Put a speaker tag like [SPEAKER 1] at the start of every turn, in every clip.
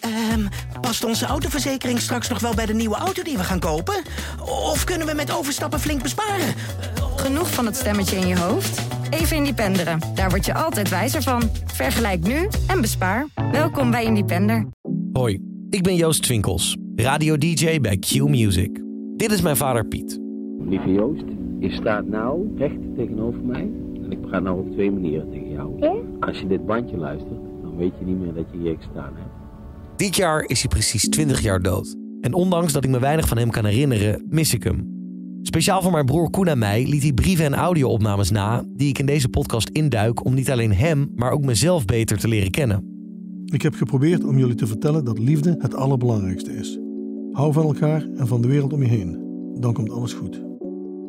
[SPEAKER 1] Ehm, past onze autoverzekering straks nog wel bij de nieuwe auto die we gaan kopen? Of kunnen we met overstappen flink besparen?
[SPEAKER 2] Genoeg van het stemmetje in je hoofd? Even independeren. Daar word je altijd wijzer van. Vergelijk nu en bespaar. Welkom bij Independer.
[SPEAKER 3] Hoi, ik ben Joost Twinkels, radio-dj bij Q-Music. Dit is mijn vader Piet.
[SPEAKER 4] Lieve Joost, je staat nou recht tegenover mij. En ik praat nou op twee manieren tegen jou. Als je dit bandje luistert, dan weet je niet meer dat je hier gestaan hebt.
[SPEAKER 3] Dit jaar is hij precies 20 jaar dood. En ondanks dat ik me weinig van hem kan herinneren, mis ik hem. Speciaal voor mijn broer Koen en mij liet hij brieven en audio-opnames na... die ik in deze podcast induik om niet alleen hem, maar ook mezelf beter te leren kennen.
[SPEAKER 5] Ik heb geprobeerd om jullie te vertellen dat liefde het allerbelangrijkste is. Hou van elkaar en van de wereld om je heen. Dan komt alles goed.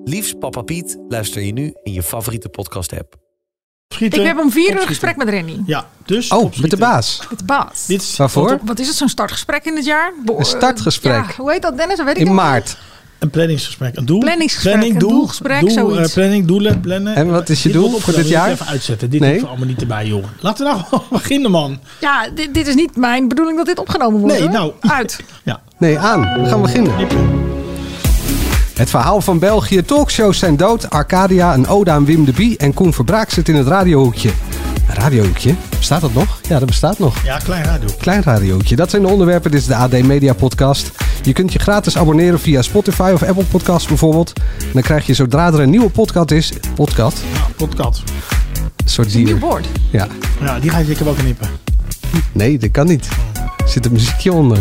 [SPEAKER 3] Liefst Papa Piet luister je nu in je favoriete podcast-app.
[SPEAKER 5] Schieten.
[SPEAKER 6] Ik heb om vier uur een
[SPEAKER 5] Opschieten.
[SPEAKER 6] gesprek met Rennie,
[SPEAKER 5] Ja, dus.
[SPEAKER 7] Oh, met de
[SPEAKER 5] opschieten.
[SPEAKER 7] baas.
[SPEAKER 6] met de baas.
[SPEAKER 5] Dit is
[SPEAKER 7] Waarvoor?
[SPEAKER 6] Wat is het, zo'n startgesprek in het jaar? Bo- eh,
[SPEAKER 7] Een startgesprek.
[SPEAKER 6] Ja, hoe heet dat Dennis? Dat weet ik
[SPEAKER 7] In
[SPEAKER 6] helemaal
[SPEAKER 7] maart.
[SPEAKER 5] een planningsgesprek. Een doel.
[SPEAKER 6] Planningsgesprek, een doelgesprek,
[SPEAKER 5] doel,
[SPEAKER 6] zoiets.
[SPEAKER 5] eh, planning, doelen, plannen.
[SPEAKER 7] En wat is je
[SPEAKER 5] Dit
[SPEAKER 7] doel
[SPEAKER 5] wordt
[SPEAKER 7] voor dit
[SPEAKER 5] opgenomen,
[SPEAKER 7] jaar?
[SPEAKER 5] moet ik Even uitzetten. Dit
[SPEAKER 7] Nee.
[SPEAKER 5] nee. allemaal niet erbij, jongen. Laten we nou gewoon beginnen, man.
[SPEAKER 6] niet. Ja, dit, dit is niet mijn bedoeling dat dit opgenomen wordt.
[SPEAKER 5] Nee,
[SPEAKER 6] hoor.
[SPEAKER 5] nou.
[SPEAKER 6] Uit.
[SPEAKER 5] Ja.
[SPEAKER 7] Nee, aan. We gaan beginnen. Het verhaal van België. Talkshows zijn dood. Arcadia, een ode aan Wim de Bie. En Koen Verbraak zit in het radiohoekje. Een radiohoekje? Bestaat dat nog? Ja, dat bestaat nog.
[SPEAKER 5] Ja, klein radio.
[SPEAKER 7] Klein radiootje. Dat zijn de onderwerpen. Dit is de AD Media Podcast. Je kunt je gratis abonneren via Spotify of Apple Podcasts bijvoorbeeld. En dan krijg je zodra er een nieuwe podcast is... Podcast?
[SPEAKER 5] Ja, podcast.
[SPEAKER 7] Een soort
[SPEAKER 6] Een nieuw
[SPEAKER 7] dier.
[SPEAKER 6] woord.
[SPEAKER 7] Ja.
[SPEAKER 5] Ja, die ga je zeker wel knippen.
[SPEAKER 7] Nee, dat kan niet. Er zit een muziekje onder.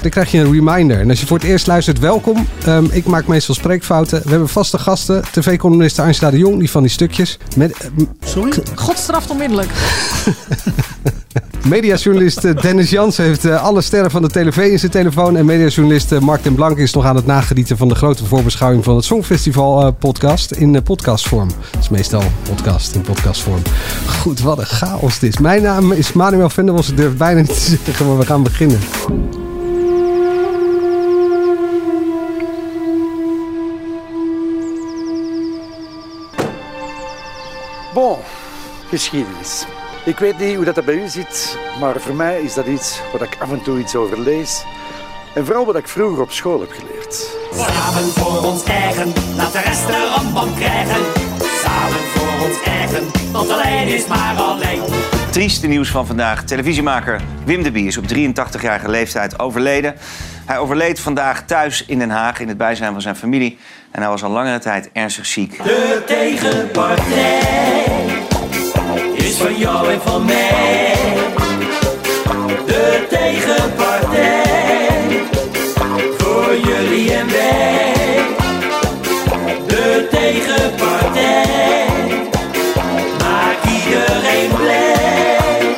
[SPEAKER 7] Dan krijg je een reminder. En als je voor het eerst luistert, welkom. Ehm, ik maak meestal spreekfouten. We hebben vaste gasten. TV-columniste Angela de Jong, die van die stukjes. Med- eh,
[SPEAKER 5] Sorry?
[SPEAKER 6] God straft onmiddellijk.
[SPEAKER 7] mediajournalist eh, Dennis Jans heeft eh, alle sterren van de TV in zijn telefoon. En mediajournalist eh, Mark den Blank is nog aan het nagenieten van de grote voorbeschouwing van het Songfestival eh, podcast in eh, podcastvorm. Dat is meestal podcast in podcastvorm. Goed, wat een chaos dit is. Mijn naam is Manuel Venderbos. Ik durf bijna niet te zeggen, maar we gaan beginnen.
[SPEAKER 8] Bon, geschiedenis. Ik weet niet hoe dat, dat bij u zit, maar voor mij is dat iets wat ik af en toe iets over lees. En vooral wat ik vroeger op school heb geleerd.
[SPEAKER 9] Samen voor ons eigen, laat de rest er een band krijgen. Samen voor ons eigen, want alleen is maar alleen.
[SPEAKER 10] Trieste nieuws van vandaag. Televisiemaker Wim de Bie is op 83-jarige leeftijd overleden. Hij overleed vandaag thuis in Den Haag in het bijzijn van zijn familie. En hij was al langere tijd ernstig ziek.
[SPEAKER 9] De tegenpartij is van jou en van mij. De tegenpartij voor jullie en wij. De tegenpartij maakt iedereen blij.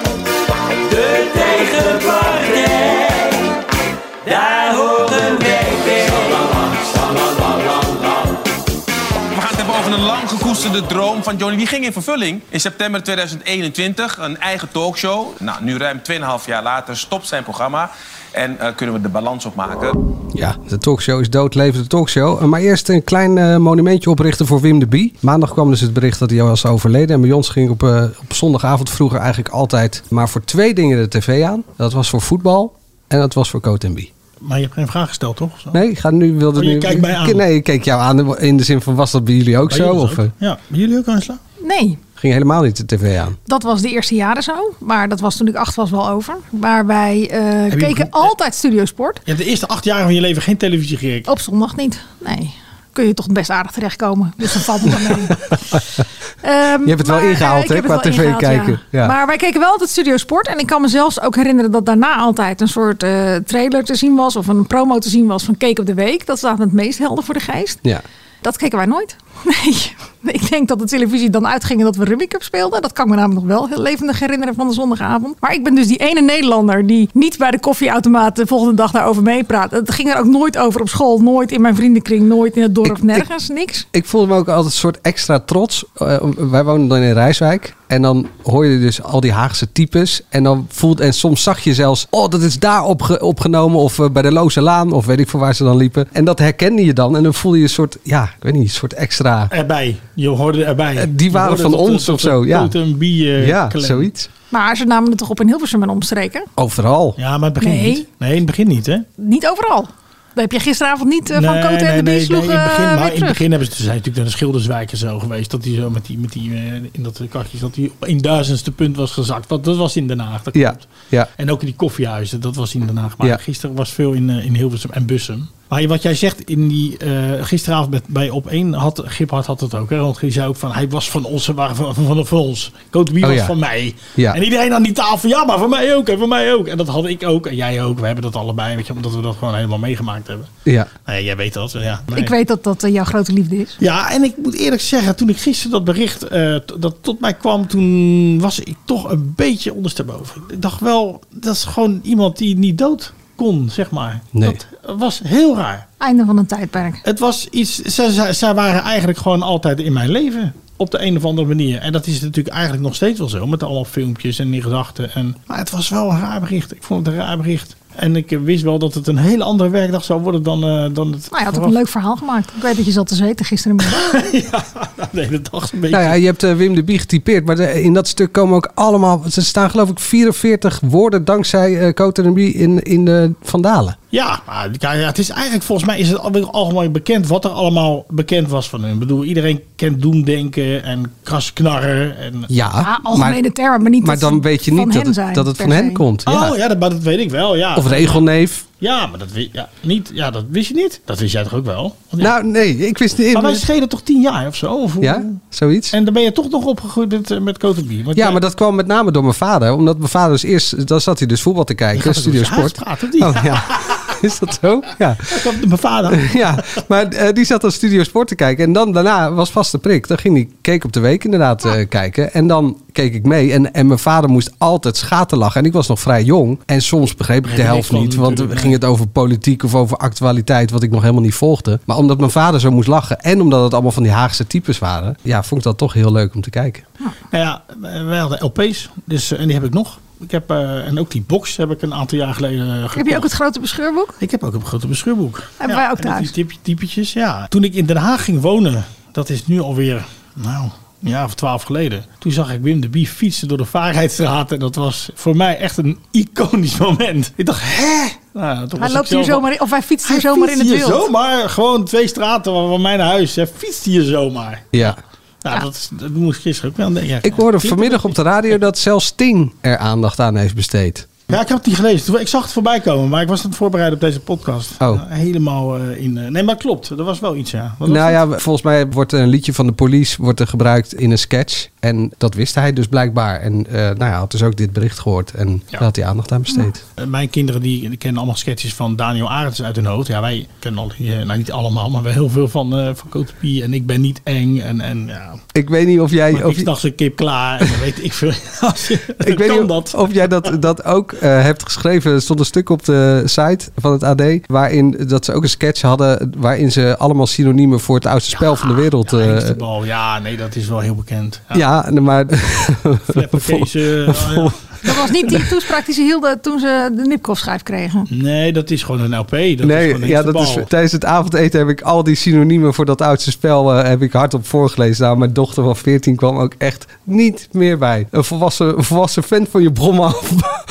[SPEAKER 9] De tegenpartij, daar horen wij bij.
[SPEAKER 11] We gaan het hebben over een lang gekoesterde droom van Johnny. Die ging in vervulling. In september 2021 een eigen talkshow. Nou, nu ruim 2,5 jaar later stopt zijn programma. En eh, kunnen we de balans opmaken.
[SPEAKER 7] Ja, de talkshow is dood, leven de talkshow. Eh, Maar eerst een klein eh, monumentje oprichten voor Wim de Bie. Maandag kwam dus het bericht dat hij was overleden. En bij ons ging op, eh, op zondagavond vroeger eigenlijk altijd maar voor twee dingen de tv aan. Dat was voor voetbal en dat was voor Coat en Bie.
[SPEAKER 5] Maar je hebt geen vraag gesteld, toch? Zo.
[SPEAKER 7] Nee, ik ga nu, wilde
[SPEAKER 5] Oh, je
[SPEAKER 7] nu,
[SPEAKER 5] kijkt mij aan.
[SPEAKER 7] Nee, ik keek jou aan in de zin van was dat bij jullie ook
[SPEAKER 5] Bij
[SPEAKER 7] zo?
[SPEAKER 5] jullie dus
[SPEAKER 7] Of eh,
[SPEAKER 5] ook? Ja, bij jullie ook, Angela?
[SPEAKER 6] Nee,
[SPEAKER 7] ging helemaal niet de tv aan?
[SPEAKER 6] dat was de eerste jaren zo. Maar dat was toen ik acht was wel over. Maar wij eh,
[SPEAKER 5] je
[SPEAKER 6] keken
[SPEAKER 5] goed-
[SPEAKER 6] altijd Studio Sport.
[SPEAKER 5] Je hebt de eerste acht jaar van je leven geen televisie gekeken.
[SPEAKER 6] Op zondag niet. Nee. Kun je toch best aardig terechtkomen. Dus dat valt me dan mee. Ehm,
[SPEAKER 7] Je hebt het wel
[SPEAKER 6] maar,
[SPEAKER 7] ingehaald,
[SPEAKER 6] eh, ik
[SPEAKER 7] hè,
[SPEAKER 6] heb
[SPEAKER 7] qua
[SPEAKER 6] het wel
[SPEAKER 7] tv
[SPEAKER 6] ingehaald,
[SPEAKER 7] kijken.
[SPEAKER 6] Ja.
[SPEAKER 7] Ja.
[SPEAKER 6] Maar wij keken wel altijd Studio Sport. En ik kan me zelfs ook herinneren dat daarna altijd een soort eh, trailer te zien was. Of een promo te zien was van Cake op de Week. Dat staat me het meest helder voor de geest.
[SPEAKER 7] Ja.
[SPEAKER 6] Dat keken wij nooit. Nee. Ik denk dat de televisie dan uitging dat we Rugby Cup speelden. Dat kan ik me namelijk nog wel heel levendig herinneren van de zondagavond. Maar ik ben dus die ene Nederlander die niet bij de koffieautomaat de volgende dag daarover meepraat. Het ging er ook nooit over op school. Nooit in mijn vriendenkring. Nooit in het dorp.
[SPEAKER 7] Ik- ik-
[SPEAKER 6] nergens. niks.
[SPEAKER 7] Ik voelde me ook altijd een soort extra trots. Eh, wij woonden dan in Rijswijk. En dan hoor je dus al die Haagse types. En dan voelt en soms zag je zelfs, oh, dat is daar opge- opgenomen. Of eh, bij de Loze Laan. Of weet ik voor waar ze dan liepen. En dat herkende je dan. En dan voelde je een soort, ja, ik weet niet, een soort extra extra.
[SPEAKER 12] Erbij. Je hoorde erbij.
[SPEAKER 7] Eh, die waren
[SPEAKER 12] Je hoorde
[SPEAKER 7] van
[SPEAKER 12] dat-
[SPEAKER 7] ons
[SPEAKER 12] dat-
[SPEAKER 7] of
[SPEAKER 12] dat-
[SPEAKER 7] zo, ja.
[SPEAKER 12] dat een bier,
[SPEAKER 7] Ja,
[SPEAKER 12] klem.
[SPEAKER 7] zoiets.
[SPEAKER 6] Maar ze namen het toch op in Hilversum en omstreken?
[SPEAKER 7] Overal.
[SPEAKER 12] Ja, maar het begint
[SPEAKER 6] Nee.
[SPEAKER 12] niet. Nee, in het begin niet, hè?
[SPEAKER 6] Niet overal. Dat heb je gisteravond niet eh, van
[SPEAKER 12] Nee,
[SPEAKER 6] Koten en de
[SPEAKER 12] nee,
[SPEAKER 6] Bie
[SPEAKER 12] nee,
[SPEAKER 6] sloeg
[SPEAKER 12] nee, in het begin,
[SPEAKER 6] eh,
[SPEAKER 12] maar
[SPEAKER 6] weer
[SPEAKER 12] in het
[SPEAKER 6] terug.
[SPEAKER 12] begin hebben ze ze zijn natuurlijk naar de Schilderswijk en zo geweest. Dat hij zo met die, met die eh, in dat kastje dat hij op een duizendste punt was gezakt. Dat, dat was in Den Haag. Dat
[SPEAKER 7] Ja,
[SPEAKER 12] klopt.
[SPEAKER 7] ja.
[SPEAKER 12] En ook in die koffiehuizen, dat was in Den Haag. Maar
[SPEAKER 7] Ja.
[SPEAKER 12] gisteren was veel in, eh, in Hilversum en Bussum. Maar wat jij zegt, in die, eh, gisteravond met, bij Op1 had Giphard had het ook. Hè? Want die zei ook van, hij was van ons, ze waren van, van, van, van ons. Coach Wie
[SPEAKER 7] Oh,
[SPEAKER 12] was
[SPEAKER 7] ja.
[SPEAKER 12] van mij.
[SPEAKER 7] Ja.
[SPEAKER 12] En iedereen aan die tafel, ja, maar van mij ook en van mij ook. En dat had ik ook en jij ook. We hebben dat allebei, weet je, omdat we dat gewoon helemaal meegemaakt hebben.
[SPEAKER 7] Ja.
[SPEAKER 12] Nee, jij weet dat. Ja.
[SPEAKER 6] Ik weet dat dat eh, jouw grote liefde is.
[SPEAKER 12] Ja, en ik moet eerlijk zeggen, toen ik gisteren dat bericht eh, t- dat tot mij kwam, toen was ik toch een beetje ondersteboven. Ik dacht wel, dat is gewoon iemand die niet dood kon, zeg maar.
[SPEAKER 7] Nee.
[SPEAKER 12] Dat was heel raar.
[SPEAKER 6] Einde van een tijdperk.
[SPEAKER 12] Het was iets, zij, zij, zij waren eigenlijk gewoon altijd in mijn leven. Op de een of andere manier. En dat is natuurlijk eigenlijk nog steeds wel zo. Met allemaal filmpjes en die gedachten. En, maar het was wel een raar bericht. Ik vond het een raar bericht. En ik eh, wist wel dat het een hele andere werkdag zou worden dan, eh, dan het.
[SPEAKER 6] Nou, je had ook
[SPEAKER 12] verwacht.
[SPEAKER 6] een leuk verhaal gemaakt. Ik weet dat je zat te zweten gisterenmiddag.
[SPEAKER 12] Nee, dat dacht een beetje.
[SPEAKER 7] Nou ja, je hebt eh, Wim de Bie getypeerd, maar de- in dat stuk komen ook allemaal... Ze staan geloof ik 44 woorden dankzij eh Cote de Bie in, in de Vandalen.
[SPEAKER 12] Ja, maar ja, ja, het is eigenlijk volgens mij is het al- algemeen bekend wat er allemaal bekend was van hun. Ik bedoel, iedereen kent doemdenken en krasknarren. En...
[SPEAKER 7] Ja,
[SPEAKER 6] Ah, algemene termen, maar niet
[SPEAKER 7] maar
[SPEAKER 6] dat ze
[SPEAKER 7] dan weet je
[SPEAKER 6] van
[SPEAKER 7] niet dat
[SPEAKER 6] hen
[SPEAKER 7] het,
[SPEAKER 6] zijn,
[SPEAKER 7] dat het
[SPEAKER 6] per
[SPEAKER 7] van hen
[SPEAKER 6] se.
[SPEAKER 7] komt. Ja.
[SPEAKER 12] Oh ja, dat, maar dat weet ik wel. Ja.
[SPEAKER 7] Of regelneef.
[SPEAKER 12] Ja, maar dat, wi- ja, niet, ja, dat wist je niet. Dat wist jij toch ook wel? Want ja.
[SPEAKER 7] Nou, nee, ik wist niet.
[SPEAKER 12] maar wij schelen toch tien jaar of zo? Of hoe-
[SPEAKER 7] Ja, zoiets.
[SPEAKER 12] En dan ben je toch nog opgegroeid met, eh, met Cote Bier.
[SPEAKER 7] Ja, maar dat kwam met name door mijn vader. Omdat mijn vader dus eerst... Dan zat hij dus voetbal te kijken, Studio Sport. Oh, ja. Is dat zo? Ja.
[SPEAKER 12] Mijn vader.
[SPEAKER 7] ja, maar eh, die zat aan Studio Sport te kijken. En dan daarna was vast de prik. Dan ging die Keek op de Week inderdaad eh, kijken. En dan keek ik mee. En, en mijn vader moest altijd schaterlachen. En ik was nog vrij jong. En soms begreep ik de
[SPEAKER 12] dat
[SPEAKER 7] helft
[SPEAKER 12] kan
[SPEAKER 7] niet. Want
[SPEAKER 12] natuurlijk,
[SPEAKER 7] ging het over politiek of over actualiteit. Wat ik nog helemaal niet volgde. Maar omdat mijn vader zo moest lachen. En omdat het allemaal van die Haagse types waren. Ja, vond ik dat toch heel leuk om te kijken.
[SPEAKER 12] Nou ja, wij hadden LP's. Dus, eh, en die heb ik nog. Ik heb, eh, en ook die box heb ik een aantal jaar geleden eh, gekocht.
[SPEAKER 6] Heb je ook het grote bescheurboek?
[SPEAKER 12] Ik heb ook een grote bescheurboek.
[SPEAKER 6] Hebben wij ook
[SPEAKER 12] en met
[SPEAKER 6] thuis.
[SPEAKER 12] Die typ- typetjes, ja. Toen ik in Den Haag ging wonen, dat is nu alweer, nou, een jaar of twaalf geleden. Toen zag ik Wim de Bie fietsen door de Vaarheidsstraat. En dat was voor mij echt een iconisch moment. Ik dacht, hè? Nou, toen was
[SPEAKER 6] Hij
[SPEAKER 12] ik
[SPEAKER 6] loopt hier
[SPEAKER 12] zelf al-
[SPEAKER 6] zomaar in, of hij fietst hier
[SPEAKER 12] Hij
[SPEAKER 6] zomaar in
[SPEAKER 12] fietst
[SPEAKER 6] het
[SPEAKER 12] hier
[SPEAKER 6] wild.
[SPEAKER 12] zomaar, gewoon twee straten van van mij naar huis. Hij fietst hier zomaar.
[SPEAKER 7] Ja.
[SPEAKER 12] Nou, dat, is- dat moest ik gisteren ook wel denken. Ja,
[SPEAKER 7] Ik hoorde vanmiddag op de radio dat zelfs Sting er aandacht aan heeft besteed.
[SPEAKER 12] Ja, ik heb het niet gelezen. Toen- Ik zag het voorbij komen, maar ik was niet voorbereid op deze podcast.
[SPEAKER 7] Oh.
[SPEAKER 12] Ja, helemaal eh, in... eh, nee, maar klopt. Er was wel iets, ja. Wat was
[SPEAKER 7] Nou ja, volgens mij wordt een liedje van de police wordt er gebruikt in een sketch. En dat wist hij dus blijkbaar. En eh nou ja, had dus ook dit bericht gehoord. En daar had hij aandacht aan besteed.
[SPEAKER 12] Eh, Mijn kinderen die, die kennen allemaal sketches van Daniel Arends uit hun hoofd. Ja, wij kennen al die, eh, nou niet allemaal, maar wel heel veel van, eh van Cote Pie en Ik ben niet eng. En, en ja,
[SPEAKER 7] Ik weet niet of jij...
[SPEAKER 12] maar
[SPEAKER 7] Of,
[SPEAKER 12] ik dacht een kip klaar en dan weet ik veel.
[SPEAKER 7] ik weet
[SPEAKER 12] kan
[SPEAKER 7] niet of-
[SPEAKER 12] dat.
[SPEAKER 7] of jij dat, dat ook eh, hebt geschreven. Er stond een stuk op de site van het AD. Waarin dat ze ook een sketch hadden. Waarin ze allemaal synoniemen voor het oudste spel van de wereld...
[SPEAKER 12] Ja,
[SPEAKER 7] eh,
[SPEAKER 12] hengstenbal. ja, nee, dat is wel heel bekend. Ja,
[SPEAKER 7] ja, maar...
[SPEAKER 12] flapperkezen, eh, ja.
[SPEAKER 6] Dat was niet die toespraak die ze hielden toen ze de Nipkoff-schijf kregen.
[SPEAKER 12] Nee, dat is gewoon een LP. Dat is
[SPEAKER 7] nee,
[SPEAKER 12] gewoon
[SPEAKER 7] ja, dat is,
[SPEAKER 12] hengstenbal.
[SPEAKER 7] tijdens het avondeten heb ik al die synoniemen voor dat oudste spel eh, heb ik hardop voorgelezen. Nou, mijn dochter van 14 kwam ook echt niet meer bij. Een volwassen, een volwassen fan van je brommen af,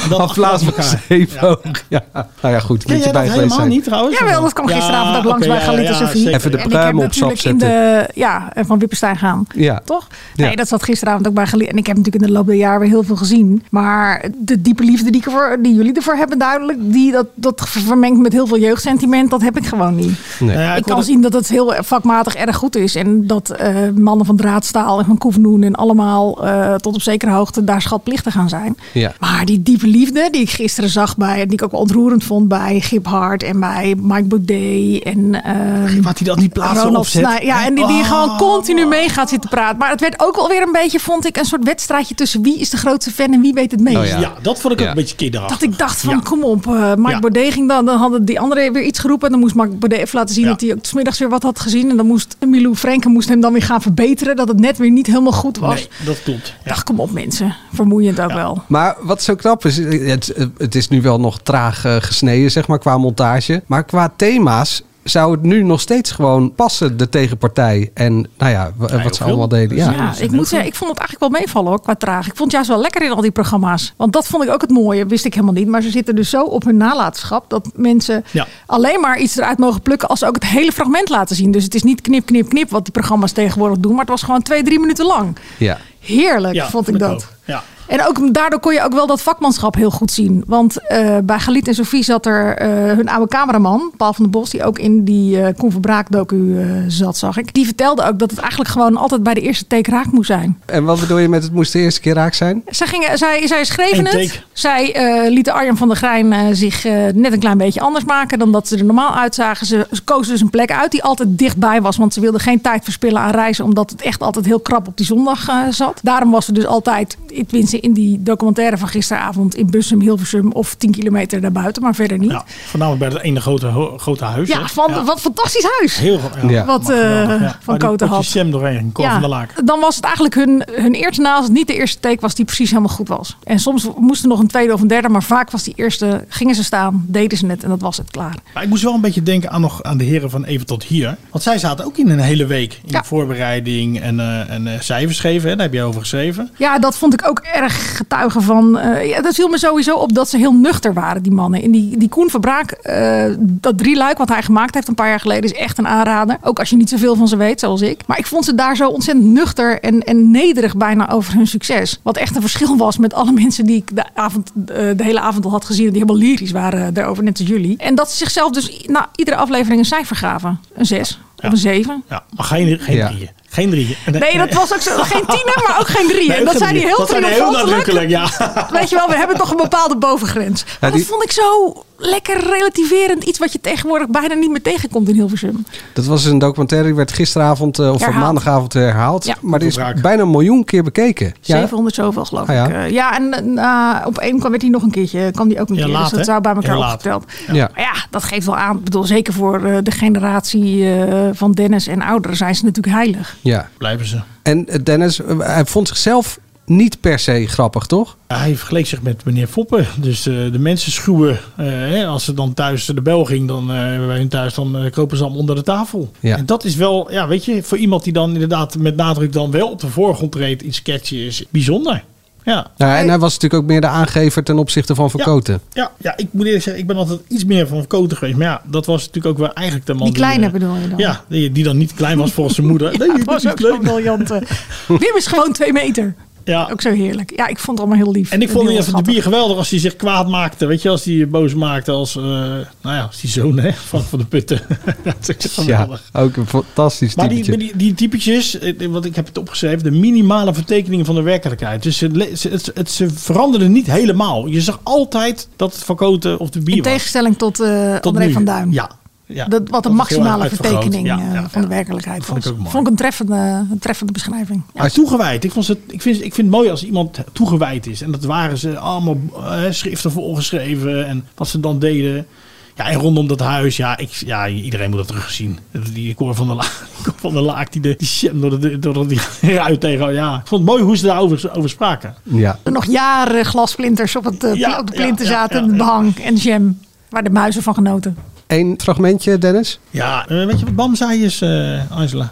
[SPEAKER 12] Dat
[SPEAKER 7] af plaats van
[SPEAKER 12] achter elkaar.
[SPEAKER 7] zeven ook. Ja. Nou ja, goed,
[SPEAKER 12] Ken
[SPEAKER 7] moet je
[SPEAKER 12] jij
[SPEAKER 7] bij
[SPEAKER 12] dat
[SPEAKER 7] geweest
[SPEAKER 12] helemaal
[SPEAKER 7] zijn.
[SPEAKER 12] niet trouwens?
[SPEAKER 6] Jawel, dat kwam gisteravond ook langs bij Galita Sophie.
[SPEAKER 7] Even de
[SPEAKER 6] En ik heb
[SPEAKER 7] pruim op sap
[SPEAKER 6] natuurlijk in
[SPEAKER 7] zetten.
[SPEAKER 6] de, ja, eh, van Wippenstein gaan.
[SPEAKER 7] Ja.
[SPEAKER 6] Toch?
[SPEAKER 7] Ja.
[SPEAKER 6] Nee, dat zat gisteravond ook bij geleerd. En ik heb natuurlijk in de loop der jaren weer heel veel gezien. Maar de diepe liefde die, ik ervoor, die jullie ervoor hebben, duidelijk, die, dat, dat vermengt met heel veel jeugdsentiment, dat heb ik gewoon niet.
[SPEAKER 7] Nee.
[SPEAKER 12] Ja,
[SPEAKER 6] ik kan
[SPEAKER 12] hoorde-
[SPEAKER 6] zien dat het heel vakmatig erg goed is. En dat eh, mannen van Draadstaal en van Koefnoen en allemaal eh, tot op zekere hoogte daar schatplichtig aan zijn.
[SPEAKER 7] Ja.
[SPEAKER 6] Maar die diepe liefde die ik gisteren zag bij, die ik ook wel ontroerend vond bij Gip Hart en bij Mike Baudet en ehm
[SPEAKER 12] Wat hij dat niet plaatsen
[SPEAKER 6] Ronald
[SPEAKER 12] opzet.
[SPEAKER 6] Snij. Ja, en die, die
[SPEAKER 12] Oh.
[SPEAKER 6] gewoon continu mee gaat zitten praten. Maar het werd ook alweer een beetje, vond ik, een soort wedstrijdje tussen wie is de grootste fan en wie weet het meest.
[SPEAKER 7] Oh ja.
[SPEAKER 12] Ja, dat vond ik ook
[SPEAKER 7] Ja.
[SPEAKER 12] een beetje kinderachtig.
[SPEAKER 6] Dat ik dacht van,
[SPEAKER 12] Ja.
[SPEAKER 6] kom op, eh Mark
[SPEAKER 12] Ja.
[SPEAKER 6] Baudet ging dan. Dan hadden die anderen weer iets geroepen. En dan moest Mark Baudet even laten zien
[SPEAKER 12] Ja.
[SPEAKER 6] dat hij ook 's middags weer wat had gezien. En dan moest Milou Frenken moest hem dan weer gaan verbeteren. Dat het net weer niet helemaal goed was.
[SPEAKER 12] Nee, dat klopt.
[SPEAKER 6] Ik dacht, kom op mensen. Vermoeiend ook wel.
[SPEAKER 7] Maar wat zo knap is, eh, het, het is nu wel nog traag eh, gesneden, zeg maar, qua montage. Maar qua thema's zou het nu nog steeds gewoon passen, de tegenpartij? En nou ja, w- wat ze
[SPEAKER 12] veel.
[SPEAKER 7] allemaal deden.
[SPEAKER 12] Ja,
[SPEAKER 7] Ja,
[SPEAKER 6] Ja, ik moet zeggen, ik vond het eigenlijk wel meevallen hoor, qua traag. Ik vond het juist wel lekker in al die programma's. Want dat vond ik ook het mooie, wist ik helemaal niet. Maar ze zitten dus zo op hun nalatenschap dat mensen
[SPEAKER 12] Ja.
[SPEAKER 6] alleen maar iets eruit mogen plukken als ze ook het hele fragment laten zien. Dus het is niet knip, knip, knip wat die programma's tegenwoordig doen. Maar het was gewoon twee, drie minuten lang.
[SPEAKER 7] Ja.
[SPEAKER 6] Heerlijk,
[SPEAKER 12] Ja,
[SPEAKER 6] vond ik
[SPEAKER 12] vind ik
[SPEAKER 6] dat.
[SPEAKER 12] ook. Ja.
[SPEAKER 6] En ook, daardoor kon je ook wel dat vakmanschap heel goed zien. Want eh, bij Galit en Sofie zat er eh, hun oude cameraman, Paul van den Bos, die ook in die eh Con Verbraak docu eh, zat, zag ik. Die vertelde ook dat het eigenlijk gewoon altijd bij de eerste take raak moest zijn.
[SPEAKER 7] En wat bedoel je met het moest de eerste keer raak zijn?
[SPEAKER 6] Zij, gingen, zij, zij schreven
[SPEAKER 7] Eén
[SPEAKER 6] het.
[SPEAKER 7] take.
[SPEAKER 6] Zij eh, lieten Arjan van der Grijn eh, zich eh, net een klein beetje anders maken dan dat ze er normaal uitzagen. Ze, ze kozen dus een plek uit die altijd dichtbij was. Want ze wilden geen tijd verspillen aan reizen. Omdat het echt altijd heel krap op die zondag eh, zat. Daarom was ze dus altijd, tenminste in die documentaire van gisteravond, in Bussum, Hilversum of 10 kilometer daarbuiten. Maar verder niet. Ja,
[SPEAKER 12] Voornamelijk bij dat ene grote, ho- grote huis. hè?
[SPEAKER 6] van, wat fantastisch huis.
[SPEAKER 12] Heel goed. Ja.
[SPEAKER 6] Wat,
[SPEAKER 12] Maar geweldig,
[SPEAKER 6] eh,
[SPEAKER 12] ja.
[SPEAKER 6] van
[SPEAKER 12] Waar die
[SPEAKER 6] Koten
[SPEAKER 12] potjes
[SPEAKER 6] had.
[SPEAKER 12] jam doorheen, Cor van der Laak.
[SPEAKER 6] Dan was het eigenlijk hun, hun eerste na als het niet de eerste take was die precies helemaal goed was. En soms moest er nog een tweede of een derde, maar vaak was die eerste, gingen ze staan, deden ze net en dat was het klaar.
[SPEAKER 12] Maar ik moest wel een beetje denken aan, nog, aan de heren van Even tot hier. Want zij zaten ook in een hele week in de voorbereiding en, eh, en eh, cijfers geven. Hè? Daar heb je over geschreven.
[SPEAKER 6] Ja, dat vond ik ook erg getuige van. eh, ja, dat viel me sowieso op dat ze heel nuchter waren, die mannen. En die, die Koen Verbraak, eh, dat drieluik wat hij gemaakt heeft een paar jaar geleden, is echt een aanrader. Ook als je niet zoveel van ze weet, zoals ik. Maar ik vond ze daar zo ontzettend nuchter en, en nederig bijna over hun succes. Wat echt een verschil was met alle mensen die ik de, avond, eh, de hele avond al had gezien. en Die helemaal lyrisch waren eh, daarover, net als jullie. En dat ze zichzelf dus i- na iedere aflevering een cijfer gaven. Een zes of een zeven.
[SPEAKER 12] Ja, maar geen, geen
[SPEAKER 6] Ja.
[SPEAKER 12] drieën. Geen drieën.
[SPEAKER 6] Nee, dat was ook zo. Geen tienen, maar ook geen drieën.
[SPEAKER 12] Nee,
[SPEAKER 6] dat
[SPEAKER 12] geen
[SPEAKER 6] zijn die
[SPEAKER 12] drieën.
[SPEAKER 6] heel
[SPEAKER 12] Dat zijn die heel nadrukkelijk, ja.
[SPEAKER 6] Weet je wel, we hebben toch een bepaalde bovengrens. Maar
[SPEAKER 7] Ja, die-
[SPEAKER 6] Dat vond ik zo lekker relativerend. Iets wat je tegenwoordig bijna niet meer tegenkomt in Hilversum.
[SPEAKER 7] Dat was dus een documentaire die werd gisteravond eh, of
[SPEAKER 6] Herhaald.
[SPEAKER 7] maandagavond herhaald.
[SPEAKER 6] Ja.
[SPEAKER 7] Maar die is bijna een miljoen keer bekeken.
[SPEAKER 6] 700 zoveel geloof
[SPEAKER 7] Ah, ja.
[SPEAKER 6] ik. Eh, ja, en eh, na- op één kwam werd hij nog een keertje. Kwam die ook een
[SPEAKER 7] Ja,
[SPEAKER 6] keer.
[SPEAKER 7] laat,
[SPEAKER 6] dus dat
[SPEAKER 7] hè?
[SPEAKER 6] zou bij elkaar
[SPEAKER 7] Ja, laat.
[SPEAKER 6] opgeteld.
[SPEAKER 7] Ja. Ja.
[SPEAKER 6] Maar ja, dat geeft wel aan. Ik bedoel, zeker voor eh, de generatie eh, van Dennis en ouderen zijn ze natuurlijk heilig.
[SPEAKER 7] Ja.
[SPEAKER 12] Blijven ze.
[SPEAKER 7] En eh, Dennis, eh, hij vond zichzelf niet per se grappig, toch?
[SPEAKER 12] Ah, Hij vergeleek zich met meneer Foppen. Dus eh, de mensen schuwen. eh, hè, als ze dan thuis de bel ging, dan eh bij hun thuis, dan eh, kropen ze allemaal onder de tafel.
[SPEAKER 7] Ja.
[SPEAKER 12] En dat is wel, ja, weet je, voor iemand die dan inderdaad met nadruk dan wel op de voorgrond treedt, iets catchy is, bijzonder. Ja.
[SPEAKER 7] Nou, en hij was natuurlijk ook meer de aangever ten opzichte van Van
[SPEAKER 12] Ja.
[SPEAKER 7] Koten.
[SPEAKER 12] Ja, ja, ik moet eerlijk zeggen, ik ben altijd iets meer van Koten geweest. Maar ja, dat was natuurlijk ook wel eigenlijk de man
[SPEAKER 6] Die kleine
[SPEAKER 12] eh,
[SPEAKER 6] bedoel je dan?
[SPEAKER 12] Ja, die, die dan niet klein was volgens zijn moeder. Nee,
[SPEAKER 6] Ja, het was ook zo'n briljante. Wim is gewoon twee meter.
[SPEAKER 12] Ja.
[SPEAKER 6] Ook zo heerlijk. Ja, ik vond het allemaal heel lief.
[SPEAKER 12] En ik vond
[SPEAKER 6] Heel
[SPEAKER 12] het van de
[SPEAKER 6] schattig.
[SPEAKER 12] bier geweldig als hij zich kwaad maakte. Weet je, als hij boos maakte als, eh, nou ja, als die zoon hè, van, van de putten. dat is
[SPEAKER 7] Ja,
[SPEAKER 12] geweldig.
[SPEAKER 7] ook een fantastisch
[SPEAKER 12] Maar
[SPEAKER 7] typetje.
[SPEAKER 12] die, maar die, die typetjes, eh, want ik heb het opgeschreven, de minimale vertekeningen van de werkelijkheid. Dus ze, le- ze, het, het- ze veranderden niet helemaal. Je zag altijd dat het van Koten of de bier
[SPEAKER 6] In
[SPEAKER 12] was.
[SPEAKER 6] tegenstelling tot, eh André
[SPEAKER 12] nu.
[SPEAKER 6] van Duin.
[SPEAKER 12] Ja. ja.
[SPEAKER 6] Dat, wat
[SPEAKER 12] Dat
[SPEAKER 6] de
[SPEAKER 12] was heel
[SPEAKER 6] maximale
[SPEAKER 12] erg uitvergroot.
[SPEAKER 6] vertekening
[SPEAKER 12] Ja,
[SPEAKER 6] eh,
[SPEAKER 12] ja,
[SPEAKER 6] van de werkelijkheid
[SPEAKER 12] vond ik
[SPEAKER 6] was.
[SPEAKER 12] ook mooi.
[SPEAKER 6] Vond ik een treffende, een treffende beschrijving.
[SPEAKER 12] Ja, toegewijd. Ik, vond ze, ik, vind, ik vind het mooi als iemand toegewijd is. En dat waren ze allemaal eh, schriften volgeschreven. En wat ze dan deden. Ja, en rondom dat huis. Ja, ik, ja iedereen moet dat terugzien. Die Cor van der Laak, Cor van der Laak die, de- die shit door, de- door, de- die ruit tegen. Ja, ik vond het mooi hoe ze daarover over spraken.
[SPEAKER 7] Ja.
[SPEAKER 6] Er nog jaren glasplinters op, het, eh, pla- op de
[SPEAKER 12] ja,
[SPEAKER 6] plinten
[SPEAKER 12] ja,
[SPEAKER 6] zaten.
[SPEAKER 12] ja,
[SPEAKER 6] en het behang en jam. Waar de muizen van genoten.
[SPEAKER 7] Eén fragmentje, Dennis?
[SPEAKER 12] Ja, eh, weet je wat Bam zei is, eh, Angela?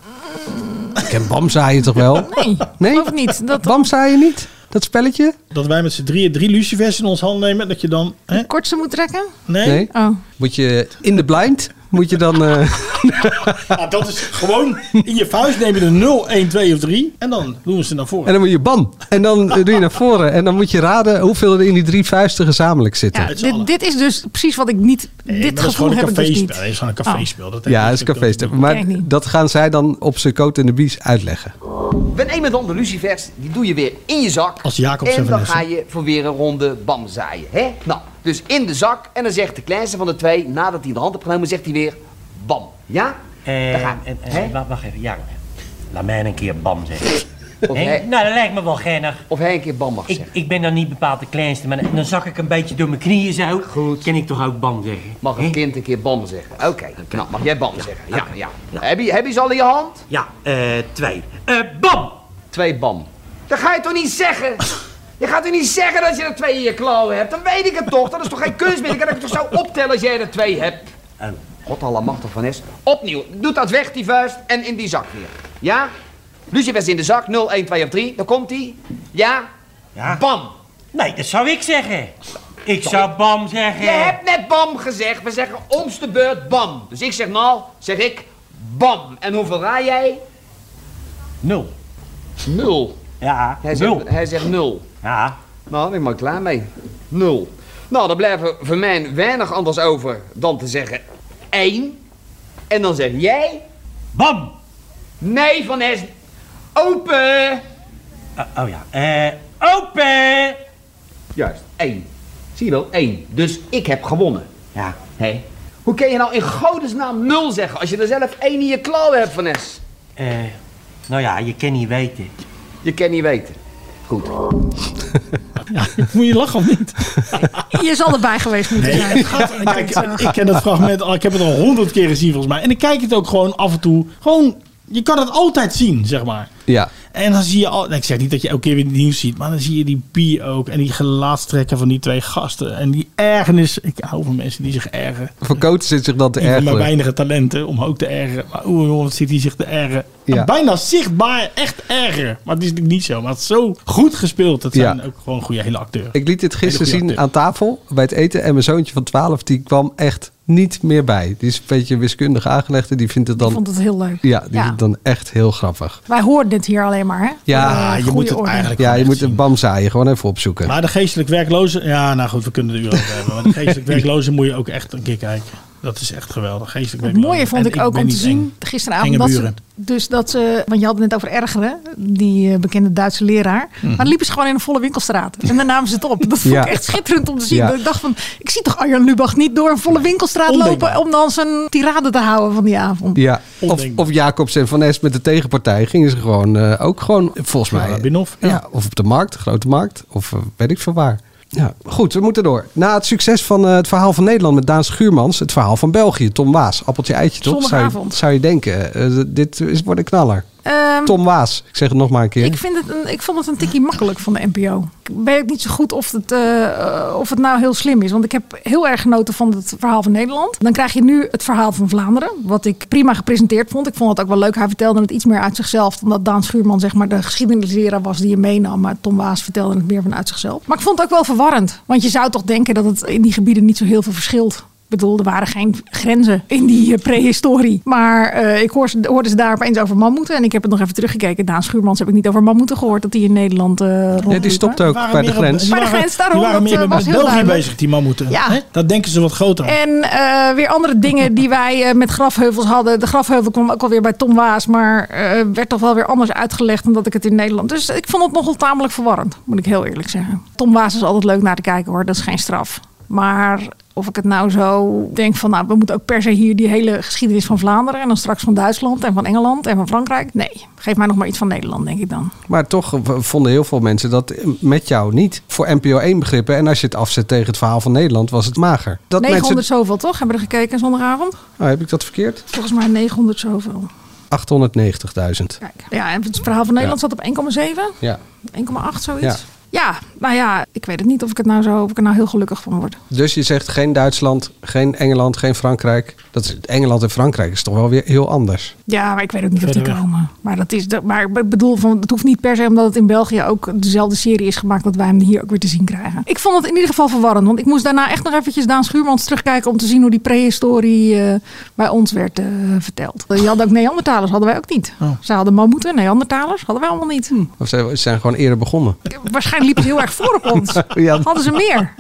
[SPEAKER 7] Ik ken Bamzaaien toch wel?
[SPEAKER 6] Nee,
[SPEAKER 7] nee?
[SPEAKER 6] of niet. Dat,
[SPEAKER 7] Bamzaaien niet? Dat spelletje?
[SPEAKER 12] Dat wij met z'n drieën drie lucifers in ons hand nemen. Dat je dan... Hè?
[SPEAKER 6] Kort ze moet trekken?
[SPEAKER 12] Nee.
[SPEAKER 6] Oh.
[SPEAKER 7] Moet je in de blind, moet je dan... eh,
[SPEAKER 12] Ja, Ah, dat is gewoon... In je vuist neem je er 0, 1, 2 of 3. En dan doen we ze naar voren.
[SPEAKER 7] En dan moet je bam. En dan eh, doe je naar voren. En dan moet je raden hoeveel er in die drie vuisten gezamenlijk zitten.
[SPEAKER 6] Ja, dit, dit is dus precies wat ik niet... dit
[SPEAKER 12] maar dat is
[SPEAKER 6] gevoel
[SPEAKER 12] gewoon
[SPEAKER 6] heb
[SPEAKER 12] een
[SPEAKER 6] ik dus
[SPEAKER 12] caféspel.
[SPEAKER 6] niet.
[SPEAKER 12] Dat is gewoon een caféspel. Dat dus
[SPEAKER 7] ja, dat is een feest.
[SPEAKER 12] Ken
[SPEAKER 7] Maar
[SPEAKER 12] ik niet.
[SPEAKER 7] dat gaan zij dan op zijn coat en de bies uitleggen.
[SPEAKER 13] We nemen dan de lucifers, die doe je weer in je zak.
[SPEAKER 7] Als Jacob
[SPEAKER 13] En dan
[SPEAKER 7] Sevenessen.
[SPEAKER 13] ga je voor weer een ronde bam zaaien. Hè? Nou, dus in de zak. En dan zegt de kleinste van de twee, nadat hij in de hand hebt genomen, zegt hij weer bam. Ja? Daar
[SPEAKER 14] En,
[SPEAKER 13] ga-
[SPEAKER 14] Ehm, en, en-
[SPEAKER 13] hè?
[SPEAKER 14] wacht, wacht even, Jan. Laat mij een keer bam zeggen.
[SPEAKER 13] Of
[SPEAKER 14] Henk?
[SPEAKER 13] hij-
[SPEAKER 14] nou, dat lijkt me wel geinig.
[SPEAKER 13] Of hij een keer bam mag
[SPEAKER 14] ik,
[SPEAKER 13] zeggen.
[SPEAKER 14] Ik ben dan niet bepaald de kleinste, maar dan- dan zak ik een beetje door mijn knieën zo. Goed. Ken ik toch ook bam zeggen?
[SPEAKER 13] Mag een kind een keer bam zeggen? Oké, nou mag jij bam zeggen. Ja, ja. Heb, je, heb je ze al in je hand?
[SPEAKER 14] Ja, eh, twee. Eh, bam!
[SPEAKER 13] Twee bam. Dat ga je toch niet zeggen? Je gaat toch niet zeggen dat je er twee in je klauwen hebt? Dan weet ik het toch. Dat is toch geen kunst meer? Dan kan ik het toch zo optellen als jij er twee hebt? God allemachtig van is. Opnieuw, doet dat weg, die vuist, en in die zak weer. Ja? Lucifers in de zak, 0, 1, 2 of 3, daar komt hij. Ja? Bam!
[SPEAKER 14] Nee, dat zou ik zeggen. Ik zou bam zeggen.
[SPEAKER 13] Je hebt net bam gezegd, we zeggen ons de beurt bam. Dus ik zeg nou, zeg ik bam. En hoeveel raai jij?
[SPEAKER 14] Nul.
[SPEAKER 13] Nul.
[SPEAKER 14] Ja,
[SPEAKER 13] hij
[SPEAKER 14] nul.
[SPEAKER 13] Zegt, hij zegt nul.
[SPEAKER 14] Ja.
[SPEAKER 13] Nou, ben ik maar klaar mee. Nul. Nou, dan blijft er voor mij weinig anders over dan te zeggen één. En dan zeg jij...
[SPEAKER 14] Bam!
[SPEAKER 13] Nee, Van Es... Open!
[SPEAKER 14] oh ja, eh... Open!
[SPEAKER 13] Juist, één. Zie je wel, één. Dus ik heb gewonnen. Ja. Hé. Hoe kun je nou in godesnaam nul zeggen als je er zelf één in je klauwen hebt, Van Es?
[SPEAKER 14] Eh, nou ja, je kan niet weten.
[SPEAKER 13] Je kan niet weten. Goed.
[SPEAKER 12] Moet je lachen of niet?
[SPEAKER 6] Je zal erbij geweest moeten
[SPEAKER 12] Nee,
[SPEAKER 6] zijn.
[SPEAKER 12] het eh, gaat er niet om. ik, ik ken dat fragment al. Ik heb het al honderd keer gezien volgens mij. En ik kijk het ook gewoon af en toe. Gewoon, je kan het altijd zien, zeg maar.
[SPEAKER 7] Ja.
[SPEAKER 12] En dan zie je al. nou, ik zeg niet dat je elke keer weer het nieuws ziet. Maar dan zie je die bier ook. En die gelaatstrekken van die twee gasten. En die ergernis. Ik hou van mensen die zich ergeren.
[SPEAKER 7] Voor coach zit zich dat te
[SPEAKER 12] Een van mijn
[SPEAKER 7] ergeren.
[SPEAKER 12] weinige talenten om ook te ergeren. Maar oeh, jongen, wat zit hij zich te ergeren.
[SPEAKER 7] Ja.
[SPEAKER 12] Bijna zichtbaar echt erger. Maar het is natuurlijk niet zo. Maar het is zo goed gespeeld. Het zijn
[SPEAKER 7] Ja.
[SPEAKER 12] ook gewoon goede hele acteurs.
[SPEAKER 7] Ik liet dit gisteren
[SPEAKER 12] Hele goede
[SPEAKER 7] zien aan tafel bij het eten. En mijn zoontje van 12, die kwam echt niet meer bij. Die is een beetje wiskundig aangelegd en die vindt het dan...
[SPEAKER 6] Ik vond het heel leuk.
[SPEAKER 7] Ja, die vindt het dan echt heel grappig.
[SPEAKER 6] Wij hoorden dit hier alleen maar, hè?
[SPEAKER 7] Ja,
[SPEAKER 12] Ah,
[SPEAKER 6] Eh,
[SPEAKER 7] je
[SPEAKER 6] goede
[SPEAKER 7] moet het
[SPEAKER 6] orde.
[SPEAKER 7] eigenlijk Ja, je moet een bam zaaien. Gewoon even opzoeken.
[SPEAKER 12] Maar de geestelijk werklozen... Ja, nou goed, we kunnen het er over hebben. Maar de geestelijk werklozen moet je ook echt een keer kijken. Dat is echt geweldig. Geestelijk
[SPEAKER 6] Het
[SPEAKER 12] werklozen.
[SPEAKER 6] mooie vond
[SPEAKER 12] En
[SPEAKER 6] ik ook
[SPEAKER 12] ben
[SPEAKER 6] om te
[SPEAKER 12] niet
[SPEAKER 6] zien
[SPEAKER 12] eng.
[SPEAKER 6] gisteravond.
[SPEAKER 12] Enge
[SPEAKER 6] Dat ze,
[SPEAKER 12] buren.
[SPEAKER 6] dus dat ze, want je had het net over ergeren, die eh, bekende Duitse leraar. Maar dan liepen ze gewoon in een volle winkelstraat. En dan namen ze het op. Dat vond
[SPEAKER 12] Hm. Ja.
[SPEAKER 6] ik echt schitterend om te zien.
[SPEAKER 12] Ja.
[SPEAKER 6] Dat ik dacht van, ik zie toch Arjan Lubach niet door een volle winkelstraat
[SPEAKER 12] Ondenkbaar.
[SPEAKER 6] lopen om dan zijn tirade te houden van die avond.
[SPEAKER 7] Ja, of, of Jacobs en Van Es met de tegenpartij gingen ze gewoon eh, ook gewoon, volgens mij.
[SPEAKER 12] Binnenhof,
[SPEAKER 7] ja. of op de markt, grote markt, of eh, weet ik veel waar. Ja, goed, we moeten door. Na het succes van eh, het verhaal van Nederland met Daan Schuurmans, het verhaal van België, Tom Waas, appeltje eitje toch? Zou je,
[SPEAKER 6] Zondagavond.
[SPEAKER 7] zou je denken, eh, dit is, wordt een knaller.
[SPEAKER 6] Ehm,
[SPEAKER 7] Tom Waas, ik zeg het nog maar een keer.
[SPEAKER 6] Ik, vind het een, ik vond het een tikkie makkelijk van de NPO. Ik weet ook niet zo goed of het, eh, eh, of het nou heel slim is. Want ik heb heel erg genoten van het verhaal van Nederland. Dan krijg je nu het verhaal van Vlaanderen. Wat ik prima gepresenteerd vond. Ik vond het ook wel leuk. Hij vertelde het iets meer uit zichzelf. Dan dat Daan Schuurman zeg maar, de geschiedenisleraar was die je meenam. Maar Tom Waas vertelde het meer vanuit zichzelf. Maar ik vond het ook wel verwarrend. Want je zou toch denken dat het in die gebieden niet zo heel veel verschilt. Ik bedoel, er waren geen grenzen in die eh, prehistorie. Maar eh, ik hoor, ze- hoorde ze daar opeens over mammoeten. En ik heb het nog even teruggekeken. Daan Schuurmans heb ik niet over mammoeten gehoord. Dat die in Nederland eh rondliepen.
[SPEAKER 7] stopte ook bij de grens.
[SPEAKER 6] Bij de grens, daarom.
[SPEAKER 12] Die waren
[SPEAKER 6] dat,
[SPEAKER 12] meer
[SPEAKER 6] eh,
[SPEAKER 12] met
[SPEAKER 6] was heel
[SPEAKER 12] België
[SPEAKER 6] duidelijk.
[SPEAKER 12] bezig, die mammoeten.
[SPEAKER 6] Ja.
[SPEAKER 12] Hè? Dat denken ze wat groter. aan.
[SPEAKER 6] En eh, weer andere dingen die wij eh, met grafheuvels hadden. De grafheuvel kwam ook alweer bij Tom Waas. Maar eh, werd toch wel weer anders uitgelegd dan dat ik het in Nederland. Dus ik vond het nogal tamelijk verwarrend. Moet ik heel eerlijk zeggen. Tom Waas is altijd leuk naar te kijken hoor. Dat is geen straf. Maar of ik het nou zo denk van... nou, we moeten ook per se hier die hele geschiedenis van Vlaanderen... en dan straks van Duitsland en van Engeland en van Frankrijk. Nee, geef mij nog maar iets van Nederland, denk ik dan.
[SPEAKER 7] Maar toch v- vonden heel veel mensen dat eh, met jou niet. Voor NPO 1 begrippen. En als je het afzet tegen het verhaal van Nederland, was het mager. Dat
[SPEAKER 6] 900
[SPEAKER 7] mensen...
[SPEAKER 6] zoveel, toch? Hebben we er gekeken zondagavond?
[SPEAKER 7] Oh, heb ik dat verkeerd?
[SPEAKER 6] Volgens mij 900 zoveel.
[SPEAKER 7] 890.000.
[SPEAKER 6] Kijk. Ja, en het verhaal van Nederland zat op 1,7.
[SPEAKER 7] Ja.
[SPEAKER 6] 1,8 zoiets.
[SPEAKER 7] Ja.
[SPEAKER 6] Ja. nou ja, ik weet het niet of ik het nou zo, of ik er nou heel gelukkig van word.
[SPEAKER 7] Dus je zegt geen Duitsland, geen Engeland, geen Frankrijk. Dat is, Engeland en Frankrijk is toch wel weer heel anders.
[SPEAKER 6] Ja, maar ik weet ook niet of die
[SPEAKER 7] Verder weg.
[SPEAKER 6] komen. Maar dat is, de- maar ik bedoel, van, het hoeft niet per se omdat het in België ook dezelfde serie is gemaakt dat wij hem hier ook weer te zien krijgen. Ik vond het in ieder geval verwarrend, want ik moest daarna echt nog eventjes Daan Schuurmans terugkijken om te zien hoe die prehistorie eh, bij ons werd eh, verteld. Je had ook Neandertalers, hadden wij ook niet.
[SPEAKER 7] Oh. Hm.
[SPEAKER 6] Ze hadden mammoeten, Neandertalers, hadden wij allemaal niet.
[SPEAKER 7] Of ze ze zijn gewoon eerder begonnen.
[SPEAKER 6] Waarschijnlijk liepen ze heel erg voor op ons.
[SPEAKER 7] Ja.
[SPEAKER 6] Hadden ze meer.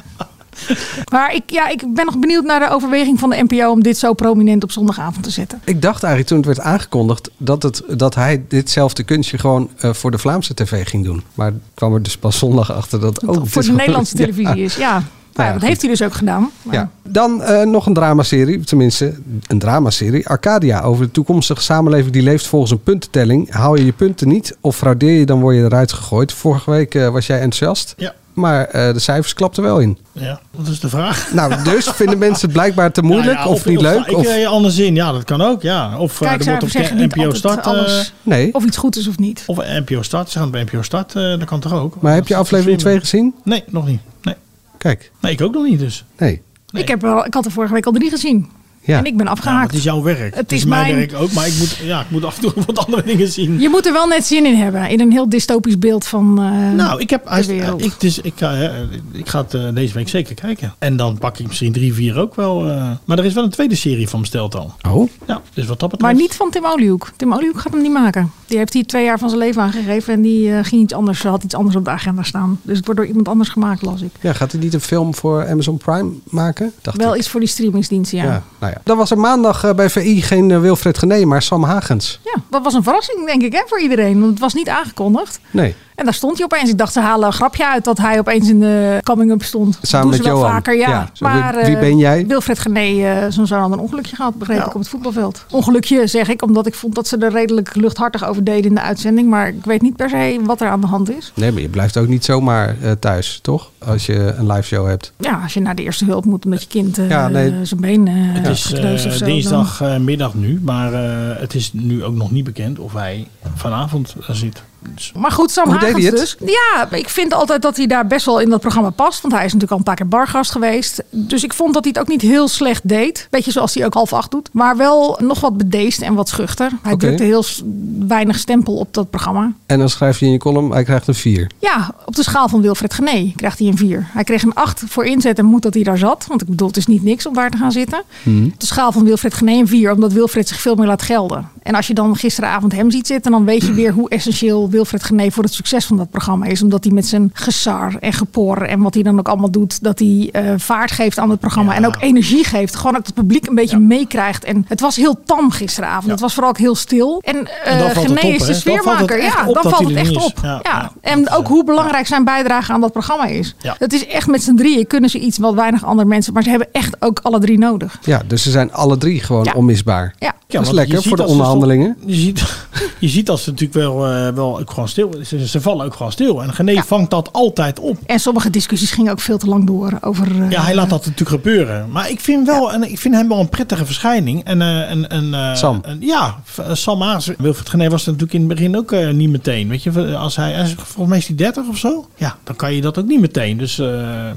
[SPEAKER 6] Maar ik, ja, ik ben nog benieuwd naar de overweging van de NPO om dit zo prominent op zondagavond te zetten.
[SPEAKER 7] Ik dacht eigenlijk toen het werd aangekondigd dat, het, dat hij ditzelfde kunstje gewoon eh, voor de Vlaamse tv ging doen. Maar kwam er dus pas zondag achter dat
[SPEAKER 12] Oh,
[SPEAKER 7] ook.
[SPEAKER 6] Voor de Nederlandse televisie is, ja. Nou ja, dat
[SPEAKER 7] ja, goed.
[SPEAKER 6] heeft hij dus ook gedaan. Maar
[SPEAKER 7] Ja. Dan eh, nog een dramaserie, tenminste een dramaserie. Arcadia over de toekomstige samenleving die leeft volgens een puntentelling. Haal je je punten niet of fraudeer je, dan word je eruit gegooid. Vorige week eh, was jij enthousiast,
[SPEAKER 12] Ja.
[SPEAKER 7] maar eh, de cijfers klapten wel in.
[SPEAKER 12] Ja, dat is de vraag.
[SPEAKER 7] Nou, dus vinden mensen het blijkbaar te moeilijk
[SPEAKER 12] Nou Ja, ja,
[SPEAKER 7] of, niet leuk?
[SPEAKER 12] Ik
[SPEAKER 7] of...
[SPEAKER 12] eh, anders in, ja, dat kan ook. Ja. Of eh, er wordt
[SPEAKER 6] Kijkcijfers
[SPEAKER 12] op
[SPEAKER 6] zeggen
[SPEAKER 12] de
[SPEAKER 6] niet
[SPEAKER 12] NPO
[SPEAKER 6] altijd
[SPEAKER 12] Start. eh,
[SPEAKER 6] alles.
[SPEAKER 7] Nee.
[SPEAKER 6] Of iets goed is of niet.
[SPEAKER 12] Of NPO Start. Ze gaan bij NPO Start, eh, dat kan toch ook.
[SPEAKER 7] Maar heb je aflevering 2 gezien?
[SPEAKER 12] Nee, nog niet. Nee.
[SPEAKER 7] Kijk.
[SPEAKER 12] Nee, ik ook nog niet dus.
[SPEAKER 7] Nee.
[SPEAKER 6] Ik, heb wel, ik had er vorige week al drie gezien.
[SPEAKER 7] Ja.
[SPEAKER 6] En ik ben afgehaakt.
[SPEAKER 12] Nou, het is jouw werk.
[SPEAKER 6] Het is
[SPEAKER 12] mijn,
[SPEAKER 6] mijn-
[SPEAKER 12] werk ook, maar ik moet, ja, ik moet af en toe wat andere dingen zien.
[SPEAKER 6] Je moet er wel net zin in hebben. In een heel dystopisch beeld van eh,
[SPEAKER 12] Nou, ik heb.
[SPEAKER 6] de wereld.
[SPEAKER 12] Ik, dus, ik, ga, eh, ik ga het eh, deze week zeker kijken. En dan pak ik misschien drie, vier ook wel. eh. maar er is wel een tweede serie van besteld al.
[SPEAKER 7] Oh?
[SPEAKER 12] Ja, dus wat dat betreft.
[SPEAKER 6] Maar niet van Tim Oliehoek. Tim Oliehoek gaat hem niet maken. Die heeft hier twee jaar van zijn leven aangegeven. En die eh, ging iets anders, had iets anders op de agenda staan. Dus het wordt door iemand anders gemaakt, las ik.
[SPEAKER 7] Ja, gaat hij niet een film voor Amazon Prime maken? Dacht
[SPEAKER 6] wel iets voor die streamingsdiensten, ja.
[SPEAKER 7] Ja.
[SPEAKER 6] ja.
[SPEAKER 7] nou ja. Dan was er maandag eh, bij VI geen eh, Wilfred Gené, maar Sam Hagens.
[SPEAKER 6] dat was een verrassing, denk ik, hè, voor iedereen. Want het was niet aangekondigd.
[SPEAKER 7] Nee.
[SPEAKER 6] En daar stond hij opeens. Ik dacht, ze halen een grapje uit dat hij opeens in de coming-up stond. Dat
[SPEAKER 7] Samen
[SPEAKER 6] doen ze
[SPEAKER 7] met
[SPEAKER 6] wel
[SPEAKER 7] Johan.
[SPEAKER 6] vaker, ja.
[SPEAKER 7] Ja, zo, wie-
[SPEAKER 6] Maar, eh,
[SPEAKER 7] wie ben jij?
[SPEAKER 6] Wilfred Gené, eh, zo'n zoon had een ongelukje gehad, begreep ik, op het voetbalveld. Ongelukje, zeg ik, omdat ik vond dat ze er redelijk luchthartig over deden in de uitzending. Maar ik weet niet per se wat er aan de hand is.
[SPEAKER 7] Nee, maar je blijft ook niet zomaar eh, thuis, toch? Als je een live show hebt.
[SPEAKER 6] Ja, als je naar de eerste hulp moet omdat je kind eh,
[SPEAKER 7] Ja, nee.
[SPEAKER 6] eh, zijn been eh
[SPEAKER 12] Het is eh,
[SPEAKER 6] gekneusd of zo,
[SPEAKER 12] dinsdagmiddag nu, maar eh, het is nu ook nog niet bekend of hij vanavond eh, zit. Dus-
[SPEAKER 6] dan- Maar goed, Sam
[SPEAKER 12] Hoe deed
[SPEAKER 6] Hagens
[SPEAKER 12] hij het?
[SPEAKER 6] dus. Ja, ik vind altijd dat hij daar best wel in dat programma past. Want hij is natuurlijk al een paar keer bargast geweest. Dus ik vond dat hij het ook niet heel slecht deed. Beetje zoals hij ook half acht doet. Maar wel nog wat bedeesd en wat schuchter. Hij
[SPEAKER 7] Oké.
[SPEAKER 6] drukte heel s- weinig stempel op dat programma.
[SPEAKER 7] En dan schrijf je in je column, hij krijgt een 4.
[SPEAKER 6] Ja, op de schaal van Wilfred Gené krijgt hij een 4. Hij kreeg een 8 voor inzet en moet dat hij daar zat. Want ik bedoel, het is niet niks om daar te gaan zitten. Op de schaal van Wilfred Gené een 4, omdat Wilfred zich veel meer laat gelden. En als je dan gisteravond hem ziet zitten, dan weet je weer hoe essentieel Wilfred Gené voor het succes van dat programma is. Omdat hij met zijn gesar en gepor en wat hij dan ook allemaal doet, dat hij eh, vaart geeft aan het programma. En ook energie geeft. Gewoon dat het publiek een beetje meekrijgt. En het was heel tam gisteravond. Het was vooral ook heel stil. En,
[SPEAKER 12] En dan
[SPEAKER 6] eh
[SPEAKER 12] valt het
[SPEAKER 6] Gené
[SPEAKER 12] op,
[SPEAKER 6] is de
[SPEAKER 12] hè? Dan valt het
[SPEAKER 6] sfeermaker.
[SPEAKER 12] echt
[SPEAKER 6] Ja, dan
[SPEAKER 12] op dat
[SPEAKER 6] valt
[SPEAKER 12] hij
[SPEAKER 6] het
[SPEAKER 12] er
[SPEAKER 6] echt
[SPEAKER 12] niet is.
[SPEAKER 6] op.
[SPEAKER 12] Ja,
[SPEAKER 6] Ja. En ook hoe belangrijk zijn bijdrage aan dat programma is.
[SPEAKER 12] Ja.
[SPEAKER 6] Dat is echt met z'n drieën kunnen ze iets wat weinig andere mensen. Maar ze hebben echt ook alle drie nodig.
[SPEAKER 7] Ja, dus ze zijn alle drie gewoon
[SPEAKER 6] Ja.
[SPEAKER 7] onmisbaar.
[SPEAKER 6] Ja.
[SPEAKER 7] Dat is
[SPEAKER 12] want je
[SPEAKER 7] lekker
[SPEAKER 12] ziet
[SPEAKER 7] voor de
[SPEAKER 12] als ze stop-
[SPEAKER 7] onderhandelingen.
[SPEAKER 12] Je ziet, je ziet dat ze natuurlijk wel, eh, wel ook gewoon stil ze, ze vallen ook gewoon stil. En Gené vangt dat altijd op.
[SPEAKER 6] En sommige discussies gingen ook veel te lang door. Over, eh,
[SPEAKER 12] Ja, hij laat dat natuurlijk gebeuren. Maar ik vind, wel, en ik vind hem wel een prettige verschijning. En, eh, en, en, eh,
[SPEAKER 7] Sam.
[SPEAKER 12] en- ja, v- eh, Sam Haas. Wilfred Gené was er natuurlijk in het begin ook eh, niet meteen. Weet je, eh, als hij, hij is- volgens mij is hij 30 of zo. Ja, dan kan je dat ook niet meteen. Dus eh,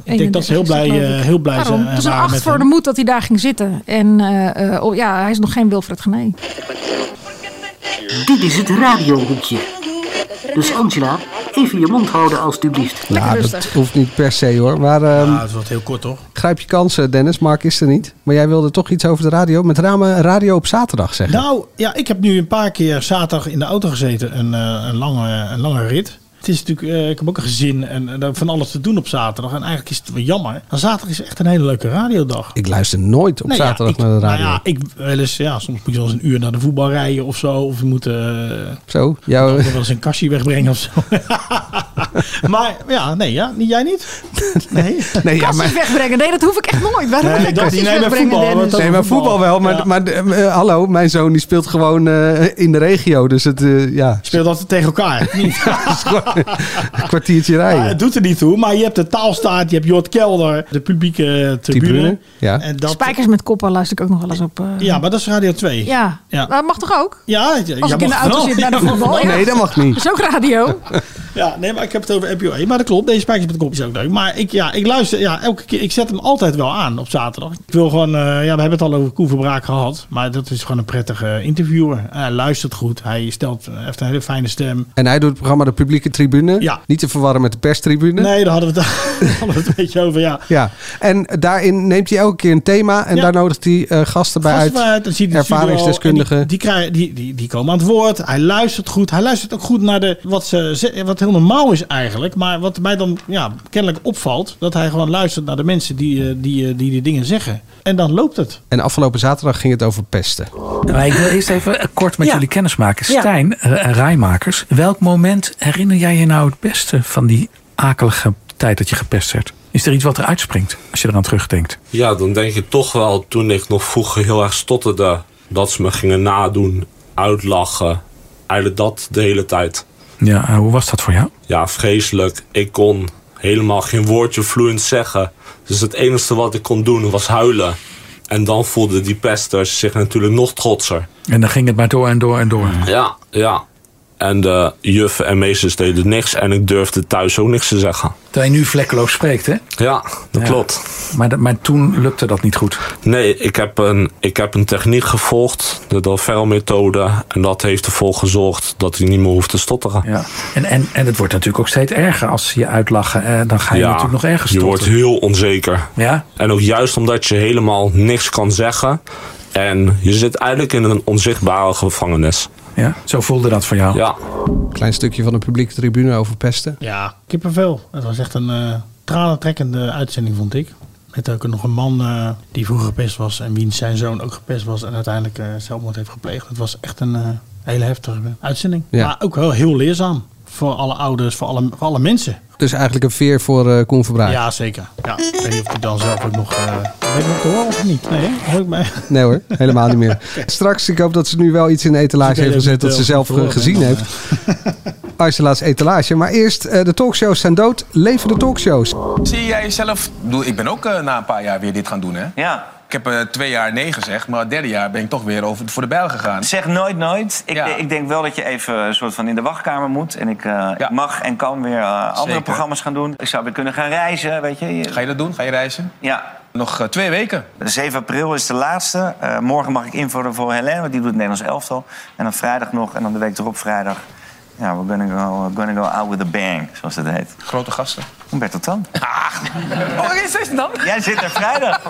[SPEAKER 12] ik denk dat ze heel
[SPEAKER 6] 31
[SPEAKER 12] blij,
[SPEAKER 6] is dat,
[SPEAKER 12] eh,
[SPEAKER 6] geloof ik.
[SPEAKER 12] heel blij eh,
[SPEAKER 6] Daarom.
[SPEAKER 12] zijn.
[SPEAKER 6] Het is een 8 voor de moed dat hij daar ging zitten. En eh, eh, oh, ja, hij is nog geen Wilfred Gené.
[SPEAKER 15] Dit is het radiohoekje. Dus Angela, even je mond houden alstublieft.
[SPEAKER 7] Nou, dat hoeft niet per se hoor. Maar ehm,
[SPEAKER 12] het wordt heel kort toch?
[SPEAKER 7] grijp je kansen, Dennis. Mark is er niet. Maar jij wilde toch iets over de radio? Met ramen radio op zaterdag zeggen.
[SPEAKER 12] Nou, ja, ik heb nu een paar keer zaterdag in de auto gezeten. Een, eh, een, lange, een lange rit. Het is natuurlijk, eh, ik heb ook een gezin en, eh, van alles te doen op zaterdag. En eigenlijk is het wel jammer. Maar zaterdag is echt een hele leuke radiodag.
[SPEAKER 7] Ik luister nooit op
[SPEAKER 12] Nee, ja,
[SPEAKER 7] zaterdag
[SPEAKER 12] ik-
[SPEAKER 7] naar de radio.
[SPEAKER 12] Nou ja, ik wel eens, ja, soms moet je wel eens een uur naar de voetbal rijden of zo. Of je moet eh,
[SPEAKER 7] Zo,
[SPEAKER 12] dan
[SPEAKER 7] jouw...
[SPEAKER 12] wel eens een kastje wegbrengen of zo. maar ja, nee, ja, niet- jij niet? Nee.
[SPEAKER 7] Nee, ja,
[SPEAKER 6] Kastjes
[SPEAKER 7] maar...
[SPEAKER 6] wegbrengen. Nee, dat hoef ik echt nooit. Waarom
[SPEAKER 12] Nee,
[SPEAKER 6] nee,
[SPEAKER 12] dat
[SPEAKER 6] kastjes
[SPEAKER 12] niet. Nee, maar
[SPEAKER 6] wegbrengen,
[SPEAKER 12] voetbal,
[SPEAKER 6] Dennis?
[SPEAKER 12] want
[SPEAKER 7] Nee, maar voetbal wel. Maar, maar eh, hallo, mijn zoon die speelt gewoon eh, in de regio. Dus het, eh, ja,
[SPEAKER 12] Speelt altijd tegen elkaar. Niet.
[SPEAKER 7] een kwartiertje rijden.
[SPEAKER 12] Ja, het doet er niet toe, maar je hebt de taalstaat, je hebt Jort Kelder, de publieke tribune.
[SPEAKER 7] Tribune, ja.
[SPEAKER 12] En dat,
[SPEAKER 6] Spijkers met koppen luister ik ook nog wel eens op. eh,
[SPEAKER 12] ja, maar dat is Radio 2.
[SPEAKER 6] ja.
[SPEAKER 12] Ja.
[SPEAKER 6] Maar dat mag toch ook?
[SPEAKER 12] Ja, ja, jij
[SPEAKER 6] Als ik in
[SPEAKER 12] mag
[SPEAKER 6] de auto
[SPEAKER 12] wel.
[SPEAKER 6] zit naar de
[SPEAKER 12] Jij mag
[SPEAKER 6] voetbal.
[SPEAKER 12] wel.
[SPEAKER 6] ja. Dat is ook radio.
[SPEAKER 12] Ja, nee, maar ik heb het over MPO 1. E. Maar dat klopt, deze spijkers met de kop is ook leuk. Maar ik, ja, ik luister, ja, elke keer, ik zet hem altijd wel aan op zaterdag. Ik wil gewoon, eh, ja, we hebben het al over Koen Verbraak gehad. Maar dat is gewoon een prettige interviewer. hij luistert goed, hij stelt, hij heeft een hele fijne stem.
[SPEAKER 7] En hij doet het programma De Publieke Tribune.
[SPEAKER 12] Ja.
[SPEAKER 7] Niet te verwarren met de perstribune.
[SPEAKER 12] Nee, daar hadden we het, daar hadden we het een beetje over, ja.
[SPEAKER 7] Ja, en daarin neemt hij elke keer een thema en
[SPEAKER 12] Ja.
[SPEAKER 7] daar nodigt hij eh, gasten bij
[SPEAKER 12] Gasten
[SPEAKER 7] uit.
[SPEAKER 12] uit, dan zie je de studio
[SPEAKER 7] ervaringsdeskundigen.
[SPEAKER 12] en Die, die, krijgen- die, die, die komen aan het woord. Hij luistert goed. Hij luistert ook goed naar de, wat, ze, ze- wat heel normaal is eigenlijk. Maar wat mij dan ja, kennelijk opvalt. Dat hij gewoon luistert naar de mensen die eh, die, eh, die, die dingen zeggen. En dan loopt het.
[SPEAKER 7] En afgelopen zaterdag ging het over pesten.
[SPEAKER 16] Maar ik wil eerst even eh, kort met jullie kennismaken. Stijn eh, en Rijmakers, welk moment herinner jij je nou het beste van die akelige tijd dat je gepest werd? Is er iets wat er uitspringt als je eraan terugdenkt?
[SPEAKER 17] Ja, dan denk je toch wel toen ik nog vroeger heel erg stotterde. Dat ze me gingen nadoen, uitlachen. Eigenlijk dat de hele tijd.
[SPEAKER 16] Ja, eh, hoe was dat voor jou?
[SPEAKER 17] Ja, vreselijk. Ik kon helemaal geen woordje vloeiend zeggen. Dus het enige wat ik kon doen was huilen. En dan voelden die pesters zich natuurlijk nog trotser.
[SPEAKER 16] En dan ging het maar door en door en door.
[SPEAKER 17] Ja, ja. En de juffen en meesters deden niks. En ik durfde thuis ook niks te zeggen.
[SPEAKER 16] Terwijl je nu vlekkeloos spreekt, hè?
[SPEAKER 17] Ja, dat
[SPEAKER 16] Ja.
[SPEAKER 17] klopt.
[SPEAKER 16] Maar, dat- maar toen lukte dat niet goed.
[SPEAKER 17] Nee, ik heb een, ik heb een techniek gevolgd. De Delfel-methode. En dat heeft ervoor gezorgd dat ik niet meer hoef te stotteren.
[SPEAKER 16] Ja. En, en, en het wordt natuurlijk ook steeds erger als ze je uitlachen. eh, dan ga je natuurlijk nog ergens
[SPEAKER 17] Je wordt
[SPEAKER 16] stotteren.
[SPEAKER 17] heel onzeker.
[SPEAKER 16] Ja?
[SPEAKER 17] En ook juist omdat je helemaal niks kan zeggen. En je zit eigenlijk in een onzichtbare gevangenis.
[SPEAKER 16] Ja, zo voelde dat voor jou.
[SPEAKER 17] Ja.
[SPEAKER 7] Klein stukje van de publieke tribune over pesten.
[SPEAKER 12] Ja, kippenvel. Het was echt een eh tranentrekkende uitzending, vond ik. Met ook nog een man eh, die vroeger gepest was en wiens zijn zoon ook gepest was en uiteindelijk eh, zelfmoord heeft gepleegd. Het was echt een eh, hele heftige uitzending.
[SPEAKER 7] Ja.
[SPEAKER 12] Maar ook wel heel leerzaam voor alle ouders, voor alle, voor alle mensen.
[SPEAKER 7] Dus eigenlijk een veer voor eh Koen Verbraak.
[SPEAKER 12] Ja, zeker. Ja. Ik weet niet of hij dan zelf ook nog... eh weet ik nog te horen of niet? Nee, hè? Hoor ik mij.
[SPEAKER 7] Nee hoor, helemaal niet meer. Straks, ik hoop dat ze nu wel iets in de etalage
[SPEAKER 12] Ze
[SPEAKER 7] heeft gezet dat ze
[SPEAKER 12] delen
[SPEAKER 7] zelf
[SPEAKER 12] het, eh,
[SPEAKER 7] eh, gezien
[SPEAKER 12] verloren,
[SPEAKER 7] heeft. Arsela's etalage. Maar eerst, eh, de talkshows zijn dood. Leven de talkshows.
[SPEAKER 11] Zie jij jezelf... Ik bedoel, Ik ben ook eh, na een paar jaar weer dit gaan doen, hè?
[SPEAKER 10] Ja.
[SPEAKER 11] Ik heb eh, twee jaar nee gezegd, maar het derde jaar ben ik toch weer over, voor de bijl gegaan.
[SPEAKER 10] Zeg nooit nooit. Ik, ik denk wel dat je even een soort van in de wachtkamer moet. En ik eh, ik mag en kan weer eh, andere
[SPEAKER 11] Zeker.
[SPEAKER 10] programma's gaan doen. Ik zou weer kunnen gaan reizen, weet je.
[SPEAKER 11] Ga je dat doen? Ga je reizen?
[SPEAKER 10] Ja.
[SPEAKER 11] Nog eh, twee weken.
[SPEAKER 10] 7 april is de laatste. Eh, morgen mag ik invullen voor Helene, want die doet het Nederlands elftal. En dan vrijdag nog, en dan de week erop vrijdag. Ja, we're gonna go, gonna go out with a bang, zoals dat heet.
[SPEAKER 11] Grote gasten. Ah.
[SPEAKER 10] Humberto Tan.
[SPEAKER 9] Oh, is het dan?
[SPEAKER 10] Jij zit er vrijdag.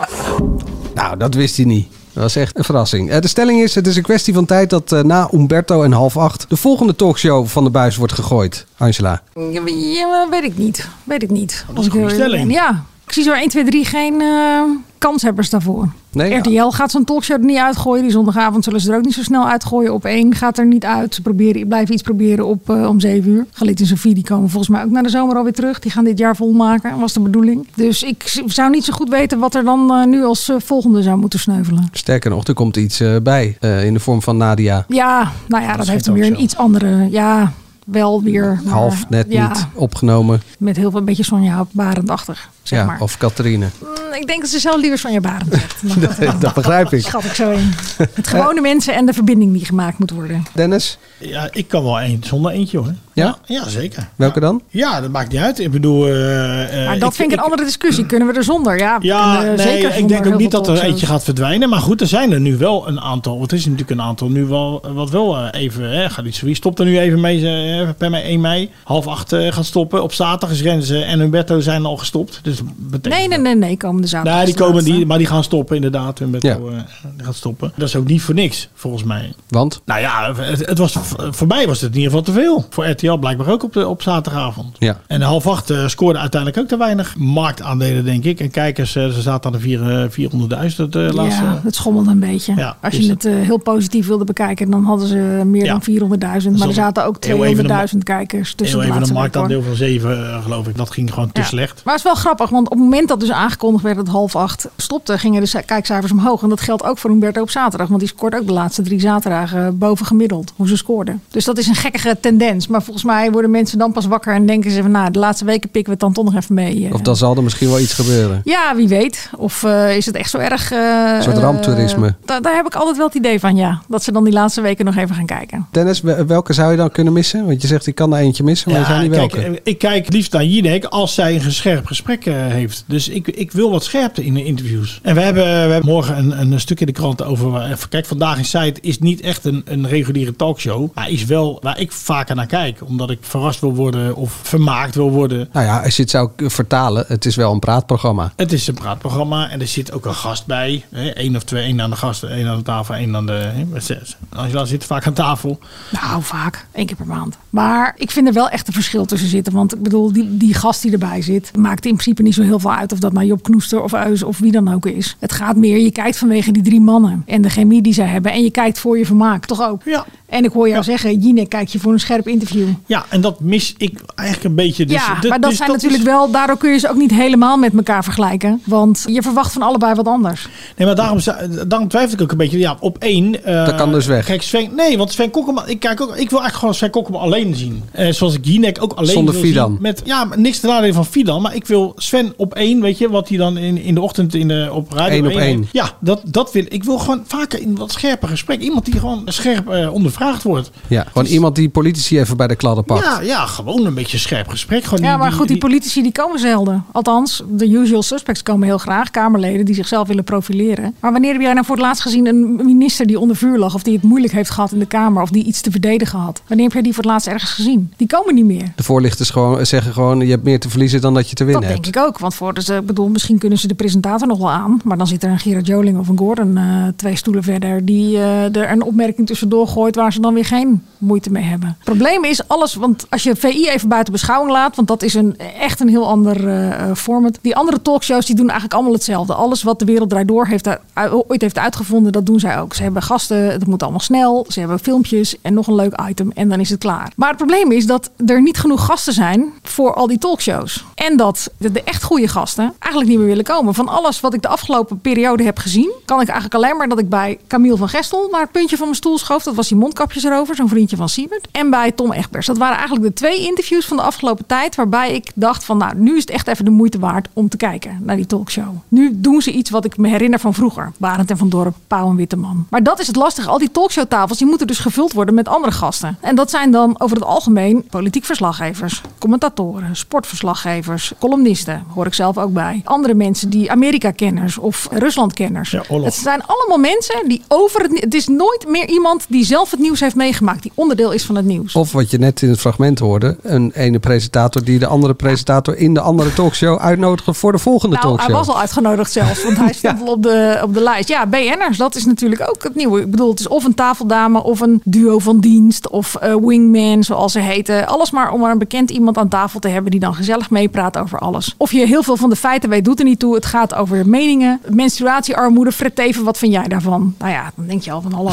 [SPEAKER 7] Nou, dat wist hij niet. Dat was echt een verrassing. Eh, de stelling is, het is een kwestie van tijd dat eh, na Umberto en half acht... de volgende talkshow van de buis wordt gegooid. Angela.
[SPEAKER 6] Ja, maar weet ik niet. Weet ik niet. Dat is
[SPEAKER 7] een goede stelling.
[SPEAKER 6] Ja. Ik zie zo 1, 2, 3 geen eh, kanshebbers daarvoor.
[SPEAKER 7] Nee,
[SPEAKER 6] RTL gaat zo'n talkshow er niet uitgooien. Die zondagavond zullen ze er ook niet zo snel uitgooien. Op één gaat er niet uit. Ze proberen, blijven iets proberen op, eh, om 7 uur. Galit en Sofie die komen volgens mij ook naar de zomer alweer terug. Die gaan dit jaar volmaken, was de bedoeling. Dus ik z- zou niet zo goed weten wat er dan eh, nu als eh, volgende zou moeten sneuvelen.
[SPEAKER 7] Sterker nog, er komt iets eh, bij eh, in de vorm van Nadia.
[SPEAKER 6] Ja, nou ja, dat, heeft hem weer een iets andere. Ja, wel weer. maar-
[SPEAKER 7] Half net
[SPEAKER 6] ja,
[SPEAKER 7] niet opgenomen.
[SPEAKER 6] Met heel veel een beetje Sonja Barendachtig. Zeg
[SPEAKER 7] ja,
[SPEAKER 6] maar.
[SPEAKER 7] Of Catharine.
[SPEAKER 6] Mm, Ik denk dat ze zelf liever Sonja Barend zegt.
[SPEAKER 7] dat, dat begrijp ik.
[SPEAKER 6] Schat ik zo in. Het gewone mensen en de verbinding die gemaakt moet worden.
[SPEAKER 7] Dennis?
[SPEAKER 12] Ja, ik kan wel een, zonder eentje hoor.
[SPEAKER 7] Ja?
[SPEAKER 12] Ja, zeker.
[SPEAKER 7] Welke dan?
[SPEAKER 12] Ja, dat maakt niet uit. Ik bedoel... eh, eh,
[SPEAKER 6] Maar dat vind ik een andere discussie. Kunnen we er zonder? Ja, we
[SPEAKER 12] Ja,
[SPEAKER 6] kunnen
[SPEAKER 12] nee,
[SPEAKER 6] er zeker
[SPEAKER 12] ik
[SPEAKER 6] zonder
[SPEAKER 12] denk
[SPEAKER 6] heel
[SPEAKER 12] ook niet
[SPEAKER 6] veel
[SPEAKER 12] dat er
[SPEAKER 6] talkshows.
[SPEAKER 12] eentje gaat verdwijnen. Maar goed, er zijn er nu wel een aantal. Want er is natuurlijk een aantal nu wel, wat wel eh, even... Hè, gaat iets, wie stopt er nu even mee? Ze, eh, per mei- 1 mei, half acht eh, gaan stoppen. Op zaterdag is Renze en Humberto zijn al gestopt. Dus dat betekent...
[SPEAKER 6] Nee, nee, nee, nee. Komende zaterdag.
[SPEAKER 12] Nee, die
[SPEAKER 6] is de
[SPEAKER 12] komen,
[SPEAKER 6] laatste.
[SPEAKER 12] die, maar die gaan stoppen inderdaad. Humberto eh, die gaat stoppen. Dat is ook niet voor niks, volgens mij.
[SPEAKER 7] Want?
[SPEAKER 12] Nou ja, het, het was, voor mij was het in ieder geval te veel. Voor RTL blijkbaar ook op, de, op zaterdagavond.
[SPEAKER 7] Ja.
[SPEAKER 12] En half acht eh, scoorde uiteindelijk ook te weinig marktaandelen, denk ik. En kijkers, eh, ze zaten aan de vier, eh, 400.000 het eh, laatste.
[SPEAKER 6] Ja, het schommelde een beetje. Als je
[SPEAKER 12] dus-
[SPEAKER 6] het eh, heel positief wilde bekijken, dan hadden ze meer
[SPEAKER 12] Ja.
[SPEAKER 6] dan 400.000. Maar er
[SPEAKER 12] dan
[SPEAKER 6] zaten ook
[SPEAKER 12] heel even de ma-
[SPEAKER 6] 200.000 kijkers tussen
[SPEAKER 12] Heel
[SPEAKER 6] de
[SPEAKER 12] even een
[SPEAKER 6] laatste week, hoor.
[SPEAKER 12] marktaandeel van 7, eh, geloof ik. Dat ging gewoon te
[SPEAKER 6] Ja.
[SPEAKER 12] slecht.
[SPEAKER 6] Maar het is wel grappig, want op het moment dat dus aangekondigd werd dat half acht stopte, gingen de kijkcijfers omhoog. En dat geldt ook voor Humberto op zaterdag, want die scoort ook de laatste drie zaterdagen boven gemiddeld, hoe ze scoorden. Dus dat is een gekkige tendens. Maar volgens mij worden mensen dan pas wakker en denken ze van, nou, de laatste weken pikken we het dan toch nog even mee. eh.
[SPEAKER 7] Of dan zal er misschien wel iets gebeuren.
[SPEAKER 6] Ja, wie weet. Of eh, is het echt zo erg... eh,
[SPEAKER 7] Een soort
[SPEAKER 6] eh,
[SPEAKER 7] ramptoerisme.
[SPEAKER 6] da- daar heb ik altijd wel het idee van, ja. Dat ze dan die laatste weken nog even gaan kijken.
[SPEAKER 7] Dennis, we- welke zou je dan kunnen missen? Want je zegt, ik kan er eentje missen, maar je zou niet
[SPEAKER 12] kijk,
[SPEAKER 7] welke.
[SPEAKER 12] eh, ik kijk liefst naar Jinek als zij een scherp gesprek eh, heeft. Dus ik, ik wil wat scherpte in de interviews. En we hebben, we hebben morgen een, een stuk in de krant over... waar- even- Kijk, Vandaag in Site is niet echt een, een reguliere talkshow. Maar is wel waar ik vaker naar kijk. Omdat ik verrast wil worden of vermaakt wil worden.
[SPEAKER 7] Nou ja, als je het zou k- vertalen, het is wel een praatprogramma.
[SPEAKER 12] Het is een praatprogramma en er zit ook een gast bij. Hè? Eén of twee, één aan de gast, één aan de tafel, één aan de... Hè? met zes. Angela zit vaak aan tafel.
[SPEAKER 6] Nou, vaak. Eén keer per maand. Maar ik vind er wel echt een verschil tussen zitten. Want ik bedoel, die, die gast die erbij zit, maakt in principe niet zo heel veel uit. Of dat nou Job Knoester of Eus of wie dan ook is. Het gaat meer, je kijkt vanwege die drie mannen. En de chemie die zij hebben. En je kijkt voor je vermaak, toch ook?
[SPEAKER 12] Ja.
[SPEAKER 6] En ik hoor jou zeggen, Jinek, kijk je voor een scherp interview.
[SPEAKER 12] Ja, en dat mis ik eigenlijk een beetje. Dus
[SPEAKER 6] ja,
[SPEAKER 12] dat-
[SPEAKER 6] maar dat
[SPEAKER 12] dus
[SPEAKER 6] zijn
[SPEAKER 12] dat is-
[SPEAKER 6] natuurlijk wel, daardoor kun je ze ook niet helemaal met elkaar vergelijken. Want je verwacht van allebei wat anders.
[SPEAKER 12] Nee, maar daarom, zou- daarom twijfel ik ook een beetje. Ja, op één. eh,
[SPEAKER 7] Dat kan dus weg.
[SPEAKER 12] Kijk, Sven, nee, want Sven Kokkelman. Ik, kijk ook, ik wil eigenlijk gewoon Sven Kokkelman alleen zien. Eh, zoals ik Jinek ook alleen
[SPEAKER 7] Zonder
[SPEAKER 12] wil
[SPEAKER 7] Fidan.
[SPEAKER 12] zien. Met, ja, maar niks te nadelen van Fidan. Maar ik wil Sven op één, weet je, wat hij dan in, in de ochtend in de, op radio
[SPEAKER 7] Eén op één.
[SPEAKER 12] heeft. Ja, dat, dat wil ik. wil gewoon vaker in wat scherper gesprek. Iemand die gewoon scherp eh, onder gevraagd wordt. Dus-
[SPEAKER 7] Ja, gewoon
[SPEAKER 6] Dus-
[SPEAKER 7] iemand die politici even bij de kladden pakt.
[SPEAKER 12] Ja, ja, gewoon een beetje scherp gesprek. Gewoon
[SPEAKER 6] Ja,
[SPEAKER 12] die-
[SPEAKER 6] maar
[SPEAKER 12] die-
[SPEAKER 6] goed, die politici die komen zelden. Althans, de usual suspects komen heel graag. Kamerleden die zichzelf willen profileren. Maar wanneer heb jij nou voor het laatst gezien een minister die onder vuur lag... of die het moeilijk heeft gehad in de Kamer of die iets te verdedigen had? Wanneer heb jij die voor het laatst ergens gezien? Die komen niet meer.
[SPEAKER 7] De voorlichters gewoon, eh, zeggen gewoon, je hebt meer te verliezen dan dat je te winnen
[SPEAKER 6] dat
[SPEAKER 7] hebt.
[SPEAKER 6] denk ik ook. Want voor, dus, eh, ik bedoel, misschien kunnen ze de presentator nog wel aan. Maar dan zit er een Gerard Joling of een Gordon eh, twee stoelen verder. Die eh, er een opmerking tussendoor gooit waar ze dan weer geen moeite mee hebben. Het probleem is alles, want als je VI even buiten beschouwing laat. Want dat is een, echt een heel ander eh, eh, format. Die andere talkshows die doen eigenlijk allemaal hetzelfde. Alles wat de wereld draait door heeft daar, ooit heeft uitgevonden, dat doen zij ook. Ze hebben gasten, het moet allemaal snel. Ze hebben filmpjes en nog een leuk item en dan is het klaar. Maar het probleem is dat er niet genoeg gasten zijn voor al die talkshows. En dat de, de echt goede gasten eigenlijk niet meer willen komen. Van alles wat ik de afgelopen periode heb gezien, kan ik eigenlijk alleen maar dat ik bij Camille van Gestel naar het puntje van mijn stoel schoof. Dat was die mondkapjes erover, zo'n vriendje van Siebert. En bij Tom Egbers. Dat waren eigenlijk de twee interviews van de afgelopen tijd waarbij ik dacht van nou, nu is het echt even de moeite waard om te kijken naar die talkshow. Nu doen ze iets wat ik me herinner van vroeger. Barend en van Dorp, Pauw en Witteman. Maar dat is het lastige. Al die talkshowtafels die moeten dus gevuld worden met andere gasten. En dat zijn dan over het algemeen politiek verslaggevers, commentatoren, sportverslaggevers, columnisten, hoor ik zelf ook bij. Andere mensen die Amerika-kenners of Rusland-kenners. het zijn allemaal mensen die over het. nie- Het is nooit meer iemand die zelf het nieuws heeft meegemaakt, die onderdeel is van het nieuws.
[SPEAKER 7] Of wat je net in het fragment hoorde, een ene presentator die de andere presentator in de andere talkshow uitnodigde voor de volgende
[SPEAKER 6] nou,
[SPEAKER 7] talkshow.
[SPEAKER 6] hij was al uitgenodigd zelfs, want hij stond al op de, op de lijst. Ja, BN'ers, dat is natuurlijk ook het nieuwe. Ik bedoel, het is of een tafeldame of een duo van dienst of eh, wingman, zoals ze heten. Alles maar om maar een bekend iemand aan tafel te hebben die dan gezellig meepraat over alles. Of je heel veel van de feiten weet, doet er niet toe. Het gaat over meningen, menstruatiearmoede. Fred Teven, wat vind jij daarvan? Nou ja, dan denk je al van hallo.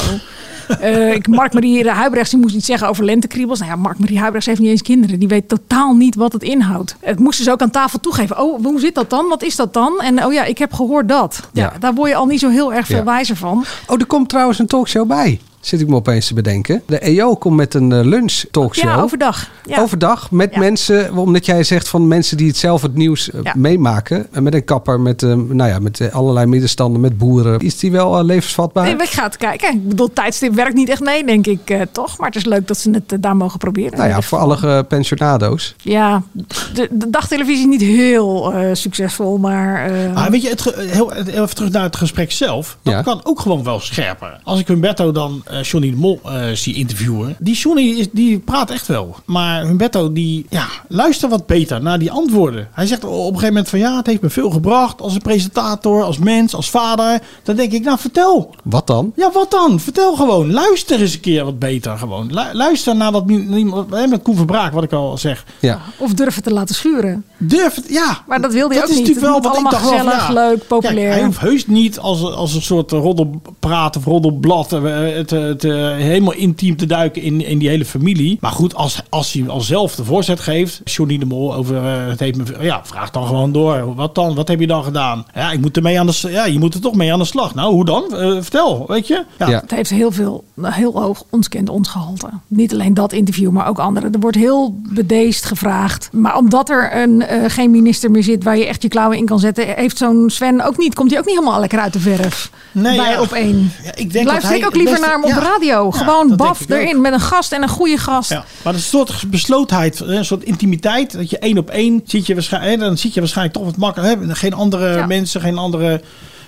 [SPEAKER 6] Eh, ik, Mark Marie Huibrechts die moest iets zeggen over lentekriebels. Nou ja, Mark Marie Huibrechts heeft niet eens kinderen. Die weet totaal niet wat het inhoudt. Het moest dus ook aan tafel toegeven. Oh, hoe zit dat dan? Wat is dat dan? En oh ja, ik heb gehoord dat. Ja,
[SPEAKER 7] Ja.
[SPEAKER 6] Daar word je al niet zo heel erg veel
[SPEAKER 7] Ja.
[SPEAKER 6] wijzer van.
[SPEAKER 7] Oh, er komt trouwens een talkshow bij. Zit ik me opeens te bedenken. De EO komt met een eh, lunch talkshow.
[SPEAKER 6] Ja, overdag. Ja.
[SPEAKER 7] Overdag met mensen, omdat jij zegt van mensen die het zelf het nieuws eh,
[SPEAKER 6] Ja.
[SPEAKER 7] meemaken. En Met een kapper, met, eh, nou ja, met eh, allerlei middenstanden, met boeren. Is die wel eh, levensvatbaar?
[SPEAKER 6] Nee, maar ik ga het kijken. Ik bedoel, tijdstip werkt niet echt mee, denk ik eh, toch. Maar het is leuk dat ze het eh, daar mogen proberen.
[SPEAKER 7] nou ja, voor alle gepensionado's.
[SPEAKER 6] Ja, de, de dagtelevisie is niet heel eh, succesvol, maar... eh,
[SPEAKER 12] Ah, weet je, het ge- heel, even terug naar het gesprek zelf. Dat
[SPEAKER 6] Ja.
[SPEAKER 12] kan ook gewoon wel scherper. Als ik Humberto dan eh, Johnny de Mol eh, zie interviewen. Die Johnny is, die praat echt wel. Maar Humberto die ja, luistert wat beter naar die antwoorden. Hij zegt op een gegeven moment van ja, het heeft me veel gebracht. Als een presentator, als mens, als vader. Dan denk ik nou vertel.
[SPEAKER 7] Wat dan?
[SPEAKER 12] Ja, wat dan? Vertel gewoon. Luister eens een keer wat beter gewoon. Lu- luister naar wat nie- niemand... hè, Met Koen Verbraak, wat ik al zeg.
[SPEAKER 7] Ja.
[SPEAKER 6] Of durven te laten schuren.
[SPEAKER 12] Durven, ja.
[SPEAKER 6] Maar dat wilde je
[SPEAKER 12] Dat
[SPEAKER 6] ook
[SPEAKER 12] is
[SPEAKER 6] niet.
[SPEAKER 12] natuurlijk wel
[SPEAKER 6] Het moet
[SPEAKER 12] wat ik
[SPEAKER 6] allemaal
[SPEAKER 12] dacht wel van,
[SPEAKER 6] gezellig,
[SPEAKER 12] ja.
[SPEAKER 6] leuk, populair.
[SPEAKER 12] Kijk, hij hoeft heus niet als, als een soort roddelpraat of roddelblad eh, het, het, eh, helemaal intiem te duiken in, in die hele familie. Maar goed, als, als hij al zelf de voorzet geeft, Johnny de Mol over eh, het heeft me, ja, vraag dan gewoon door. Wat dan? Wat heb je dan gedaan? Ja, ik moet ermee aan de, s- ja, je moet er toch mee aan de slag. Nou, hoe dan? Eh, vertel, weet je?
[SPEAKER 6] Het heeft heel veel, heel hoog ons kent ons gehalte. Niet alleen dat interview, maar ook andere. Er wordt heel bedeesd gevraagd. Maar omdat er een, eh, geen minister meer zit waar je echt je klauwen in kan zetten, heeft zo'n Sven ook niet. Komt hij ook niet helemaal lekker uit de verf?
[SPEAKER 12] Nee,
[SPEAKER 6] bij
[SPEAKER 12] ja.
[SPEAKER 6] op één.
[SPEAKER 12] Ja, ik denk
[SPEAKER 6] Luister
[SPEAKER 12] dat
[SPEAKER 6] ik
[SPEAKER 12] hij
[SPEAKER 6] ook liever
[SPEAKER 12] het beste-
[SPEAKER 6] naar hem op
[SPEAKER 12] ja.
[SPEAKER 6] de radio.
[SPEAKER 12] Ja,
[SPEAKER 6] Gewoon
[SPEAKER 12] dat
[SPEAKER 6] baf
[SPEAKER 12] denk ik ook.
[SPEAKER 6] erin met een gast en een goede gast.
[SPEAKER 12] Maar dat is een soort beslotenheid, een soort intimiteit. Dat je één op één zit je waarschijnlijk, dan zit je waarschijnlijk toch wat makkelijker. hè, Geen andere
[SPEAKER 6] Ja.
[SPEAKER 12] mensen, geen andere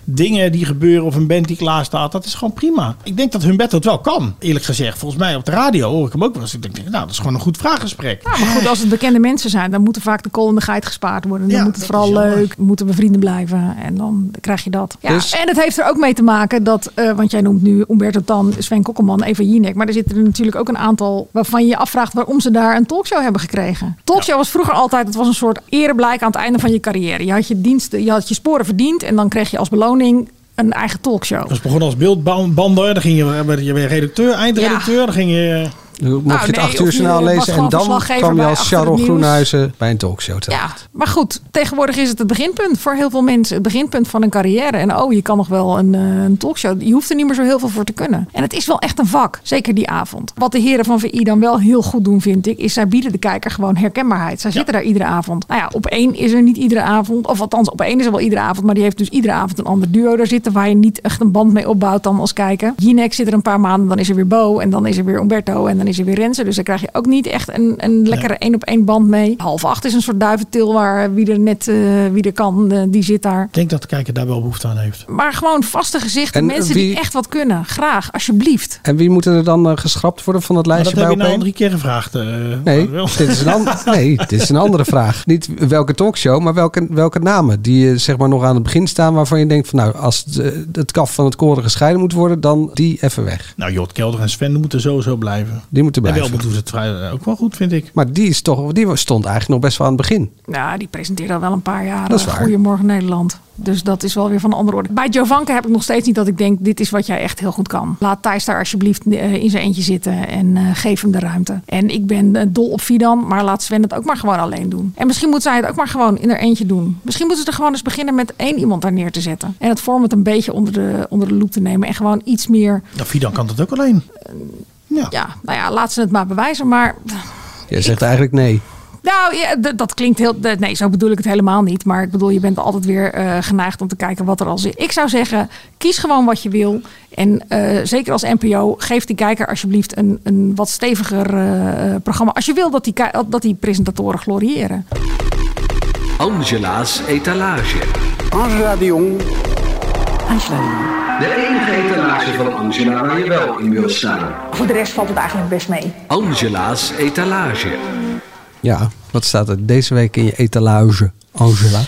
[SPEAKER 12] dingen die gebeuren of een band die klaar staat. Dat is gewoon prima. Ik denk dat Humberto het wel kan, eerlijk gezegd. Volgens mij op de radio hoor ik hem ook wel eens. Ik denk, nou, dat is gewoon een goed vraaggesprek.
[SPEAKER 6] Ja, maar goed, als het bekende mensen zijn, dan moeten vaak de kool en de geit gespaard worden. Dan moet het vooral leuk, moeten we vrienden blijven en dan krijg je dat. Ja,
[SPEAKER 2] Dus-
[SPEAKER 6] En het heeft er ook mee te maken dat, eh, want jij noemt nu Umberto Tan, Sven Kokkelman, Eva Jinek. Maar er zitten er natuurlijk ook een aantal waarvan je je afvraagt waarom ze daar een talkshow hebben gekregen. Talkshow was vroeger altijd, het was een soort ereblijk aan het einde van je carrière. Je had je diensten, je had je sporen verdiend en dan kreeg je als beloning een eigen talkshow.
[SPEAKER 12] Dus begon als beeldbander, dan ging je, werd je weer redacteur, eindredacteur, dan ging je...
[SPEAKER 7] Mocht
[SPEAKER 6] Nou,
[SPEAKER 7] je het
[SPEAKER 6] nee,
[SPEAKER 7] acht uur
[SPEAKER 6] of je
[SPEAKER 7] journaal
[SPEAKER 6] was
[SPEAKER 7] lezen en
[SPEAKER 6] gewoon
[SPEAKER 7] dan
[SPEAKER 6] verslaggever
[SPEAKER 7] kwam je
[SPEAKER 6] bij
[SPEAKER 7] als
[SPEAKER 6] Achter het
[SPEAKER 7] Charles
[SPEAKER 6] Nieuws.
[SPEAKER 7] Groenhuizen bij een talkshow terecht.
[SPEAKER 6] Ja, maar goed, tegenwoordig is het het beginpunt voor heel veel mensen. Het beginpunt van een carrière. En oh, je kan nog wel een, eh, een talkshow. Je hoeft er niet meer zo heel veel voor te kunnen. En het is wel echt een vak, zeker die avond. Wat de heren van VI dan wel heel goed doen, vind ik, is zij bieden de kijker gewoon herkenbaarheid. Zij zitten daar iedere avond. Nou ja, op één is er niet iedere avond. Of althans, op één is er wel iedere avond. Maar die heeft dus iedere avond een ander duo daar zitten waar je niet echt een band mee opbouwt dan als kijker. Jinek zit er een paar maanden, dan is er weer Bo. En dan is er weer Umberto. En dan is er weer Renze. Dus daar krijg je ook niet echt een, een lekkere één op één band mee. Half acht is een soort duiventil waar eh, wie er net eh, wie er kan, eh, die zit daar.
[SPEAKER 12] Ik denk dat de kijker daar wel behoefte aan heeft.
[SPEAKER 6] Maar gewoon vaste gezichten,
[SPEAKER 7] En
[SPEAKER 6] mensen
[SPEAKER 7] wie-
[SPEAKER 6] die echt wat kunnen. Graag, alsjeblieft.
[SPEAKER 7] En wie moeten er dan eh, geschrapt worden van dat
[SPEAKER 12] Maar dat
[SPEAKER 7] lijstje
[SPEAKER 12] heb je
[SPEAKER 7] bij
[SPEAKER 12] nou al
[SPEAKER 7] opeen?
[SPEAKER 12] drie keer gevraagd. eh,
[SPEAKER 7] Nee,
[SPEAKER 12] Manuel.
[SPEAKER 7] dit is een an- nee, dit is een andere vraag. Niet welke talkshow, maar welke, welke namen die eh, zeg maar nog aan het begin staan waarvan je denkt van nou, als het, eh, het kaf van het koren gescheiden moet worden, dan die even weg.
[SPEAKER 12] Nou, Jot Kelder en Sven moeten sowieso blijven.
[SPEAKER 7] Die moeten
[SPEAKER 12] En
[SPEAKER 7] blijven.
[SPEAKER 12] Welbert doet het vrij- eh, ook wel goed, vind ik.
[SPEAKER 7] Maar die, is toch, die stond eigenlijk nog best wel aan het begin.
[SPEAKER 6] Ja, die presenteert al wel een paar jaar.
[SPEAKER 7] Dat is
[SPEAKER 6] eh,
[SPEAKER 7] waar.
[SPEAKER 6] Goedemorgen Nederland. Dus dat is wel weer van een andere orde. Bij Jovanka heb ik nog steeds niet dat ik denk... dit is wat jij echt heel goed kan. Laat Thijs daar alsjeblieft eh, in zijn eentje zitten. En eh, geef hem de ruimte. En ik ben eh, dol op Fidan. Maar laat Sven het ook maar gewoon alleen doen. En misschien moet zij het ook maar gewoon in haar eentje doen. Misschien moeten ze er gewoon eens beginnen met één iemand daar neer te zetten. En het format een beetje onder de, onder de loep te nemen. En gewoon iets meer...
[SPEAKER 12] Nou, Fidan kan dat ook alleen. Ja.
[SPEAKER 6] nou ja, laat ze het maar bewijzen. Maar
[SPEAKER 7] Jij zegt eigenlijk nee.
[SPEAKER 6] nou, ja, d- dat klinkt heel. d- Nee, zo bedoel ik het helemaal niet. Maar ik bedoel, je bent altijd weer eh, geneigd om te kijken wat er al zit. Ik zou zeggen, kies gewoon wat je wil. En eh, zeker als NPO, geef die kijker alsjeblieft een, een wat steviger eh, eh, programma. Als je wil dat die, ki- dat die presentatoren gloriëren.
[SPEAKER 15] Angela's etalage.
[SPEAKER 18] Angela de Jong.
[SPEAKER 15] Angela De enige etalage van Angela waar je wel in wilt staan.
[SPEAKER 19] Voor de rest valt het eigenlijk best mee.
[SPEAKER 15] Angela's etalage.
[SPEAKER 7] Ja, wat staat er deze week in je etalage, Angela?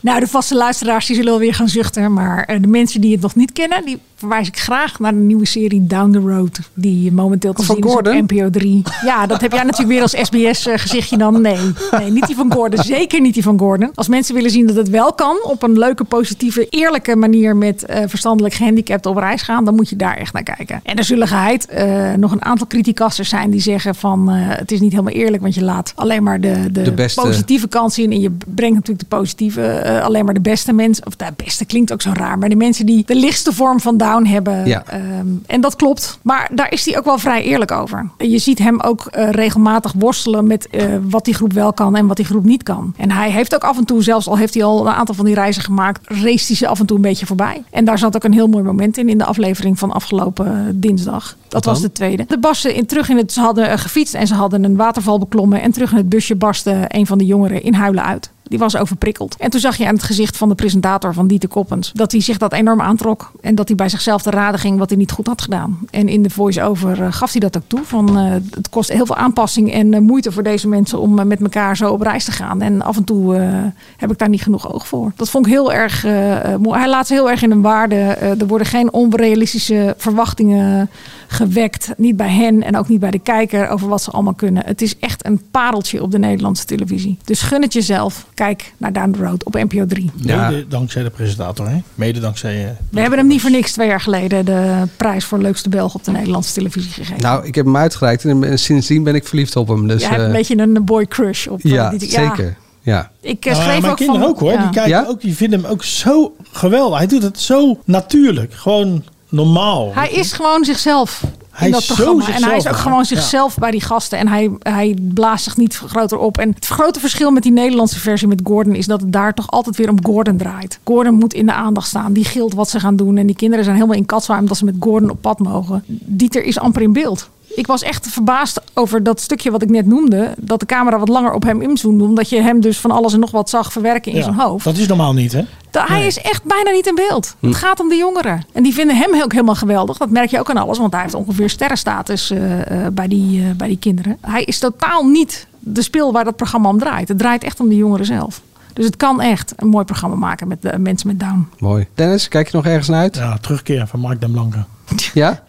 [SPEAKER 6] Nou, de vaste luisteraars die zullen wel weer gaan zuchten. Maar eh, de mensen die het nog niet kennen, die verwijs ik graag naar de nieuwe serie Down the Road. Die momenteel te
[SPEAKER 7] Van
[SPEAKER 6] zien is op
[SPEAKER 7] Gordon?
[SPEAKER 6] NPO 3. Ja, dat heb jij natuurlijk weer als SBS-gezichtje eh, dan. Nee, nee, niet die van Gordon. Zeker niet die van Gordon. Als mensen willen zien dat het wel kan, op een leuke, positieve, eerlijke manier met eh, verstandelijk gehandicapten op reis gaan, dan moet je daar echt naar kijken. En er zullen geheid eh, nog een aantal criticasters zijn die zeggen van eh, het is niet helemaal eerlijk, want je laat alleen maar de, de,
[SPEAKER 7] De beste.
[SPEAKER 6] positieve positieve kant zien. En je brengt natuurlijk de positieve, eh, alleen maar de beste mensen. Of de beste klinkt ook zo raar. Maar de mensen die de lichtste vorm van down hebben.
[SPEAKER 7] Ja.
[SPEAKER 6] ehm, en dat klopt. Maar daar is hij ook wel vrij eerlijk over. En Je ziet hem ook eh, regelmatig worstelen met eh, wat die groep wel kan en wat die groep niet kan. En hij heeft ook af en toe, zelfs al heeft hij al een aantal van die reizen gemaakt, race hij ze af en toe een beetje voorbij. En daar zat ook een heel mooi moment in, in de aflevering van afgelopen eh, dinsdag. Dat
[SPEAKER 2] dan?
[SPEAKER 6] was de tweede. De basten in, terug in het, ze hadden eh, gefietst en ze hadden een waterval beklommen. En terug in het busje barstte een van de jongeren in huilen uit. Die was overprikkeld. En toen zag je aan het gezicht van de presentator van Dieter Koppens. dat hij zich dat enorm aantrok. En dat hij bij zichzelf te raden ging wat hij niet goed had gedaan. En in de voice-over eh, gaf hij dat ook toe. Van, eh, het kost heel veel aanpassing en eh, moeite voor deze mensen. om eh, met elkaar zo op reis te gaan. En af en toe eh, heb ik daar niet genoeg oog voor. Dat vond ik heel erg eh, eh, mooi. Hij laat ze heel erg in hun waarde. Eh, er worden geen onrealistische verwachtingen gewekt. Niet bij hen en ook niet bij de kijker over wat ze allemaal kunnen. Het is echt een pareltje op de Nederlandse televisie. Dus gun het jezelf. Kijk naar Down the Road op NPO 3.
[SPEAKER 12] Mede dankzij de presentator, hè? Mede dankzij... eh,
[SPEAKER 6] We hebben hem niet voor niks twee jaar geleden de prijs voor leukste Belg op de Nederlandse televisie gegeven.
[SPEAKER 7] Nou, ik heb hem uitgereikt en eh, sindsdien ben ik verliefd op hem. Dus,
[SPEAKER 6] Jij hebt
[SPEAKER 7] eh,
[SPEAKER 6] een beetje een boy crush op eh,
[SPEAKER 7] ja,
[SPEAKER 6] die-
[SPEAKER 7] zeker. Ja.
[SPEAKER 6] Ik eh,
[SPEAKER 12] Nou ja,
[SPEAKER 6] schreef
[SPEAKER 12] mijn
[SPEAKER 6] ook
[SPEAKER 12] kinderen
[SPEAKER 6] van,
[SPEAKER 12] ook hoor.
[SPEAKER 6] ja.
[SPEAKER 12] Die kijken ook, die vinden hem ook zo geweldig. Hij doet het zo natuurlijk. Gewoon normaal.
[SPEAKER 6] Hij is gewoon zichzelf.
[SPEAKER 12] Hij
[SPEAKER 6] in dat
[SPEAKER 12] is zo
[SPEAKER 6] programma. en hij
[SPEAKER 12] zichzelf,
[SPEAKER 6] is ook
[SPEAKER 12] ja.
[SPEAKER 6] gewoon zichzelf bij die gasten. En hij, hij blaast zich niet groter op. En het grote verschil met die Nederlandse versie met Gordon is dat het daar toch altijd weer om Gordon draait. Gordon moet in de aandacht staan. Die gilt wat ze gaan doen. En die kinderen zijn helemaal in katzwaai omdat ze met Gordon op pad mogen. Dieter is amper in beeld. Ik was echt verbaasd over dat stukje wat ik net noemde. Dat de camera wat langer op hem inzoomde. Omdat je hem dus van alles en nog wat zag verwerken in
[SPEAKER 12] Ja,
[SPEAKER 6] zijn hoofd.
[SPEAKER 12] Dat is normaal niet, hè?
[SPEAKER 6] Da- Hij is echt bijna niet in beeld. Het gaat om de jongeren. En die vinden hem ook helemaal geweldig. Dat merk je ook aan alles, want hij heeft ongeveer sterrenstatus eh, eh, bij, die, eh, bij die kinderen. Hij is totaal niet de spil waar dat programma om draait. Het draait echt om de jongeren zelf. Dus het kan echt een mooi programma maken met de mensen met Down.
[SPEAKER 7] Mooi. Dennis, kijk je nog ergens naar uit?
[SPEAKER 12] Ja, terugkeer van Mark Den Blanke.
[SPEAKER 7] Ja?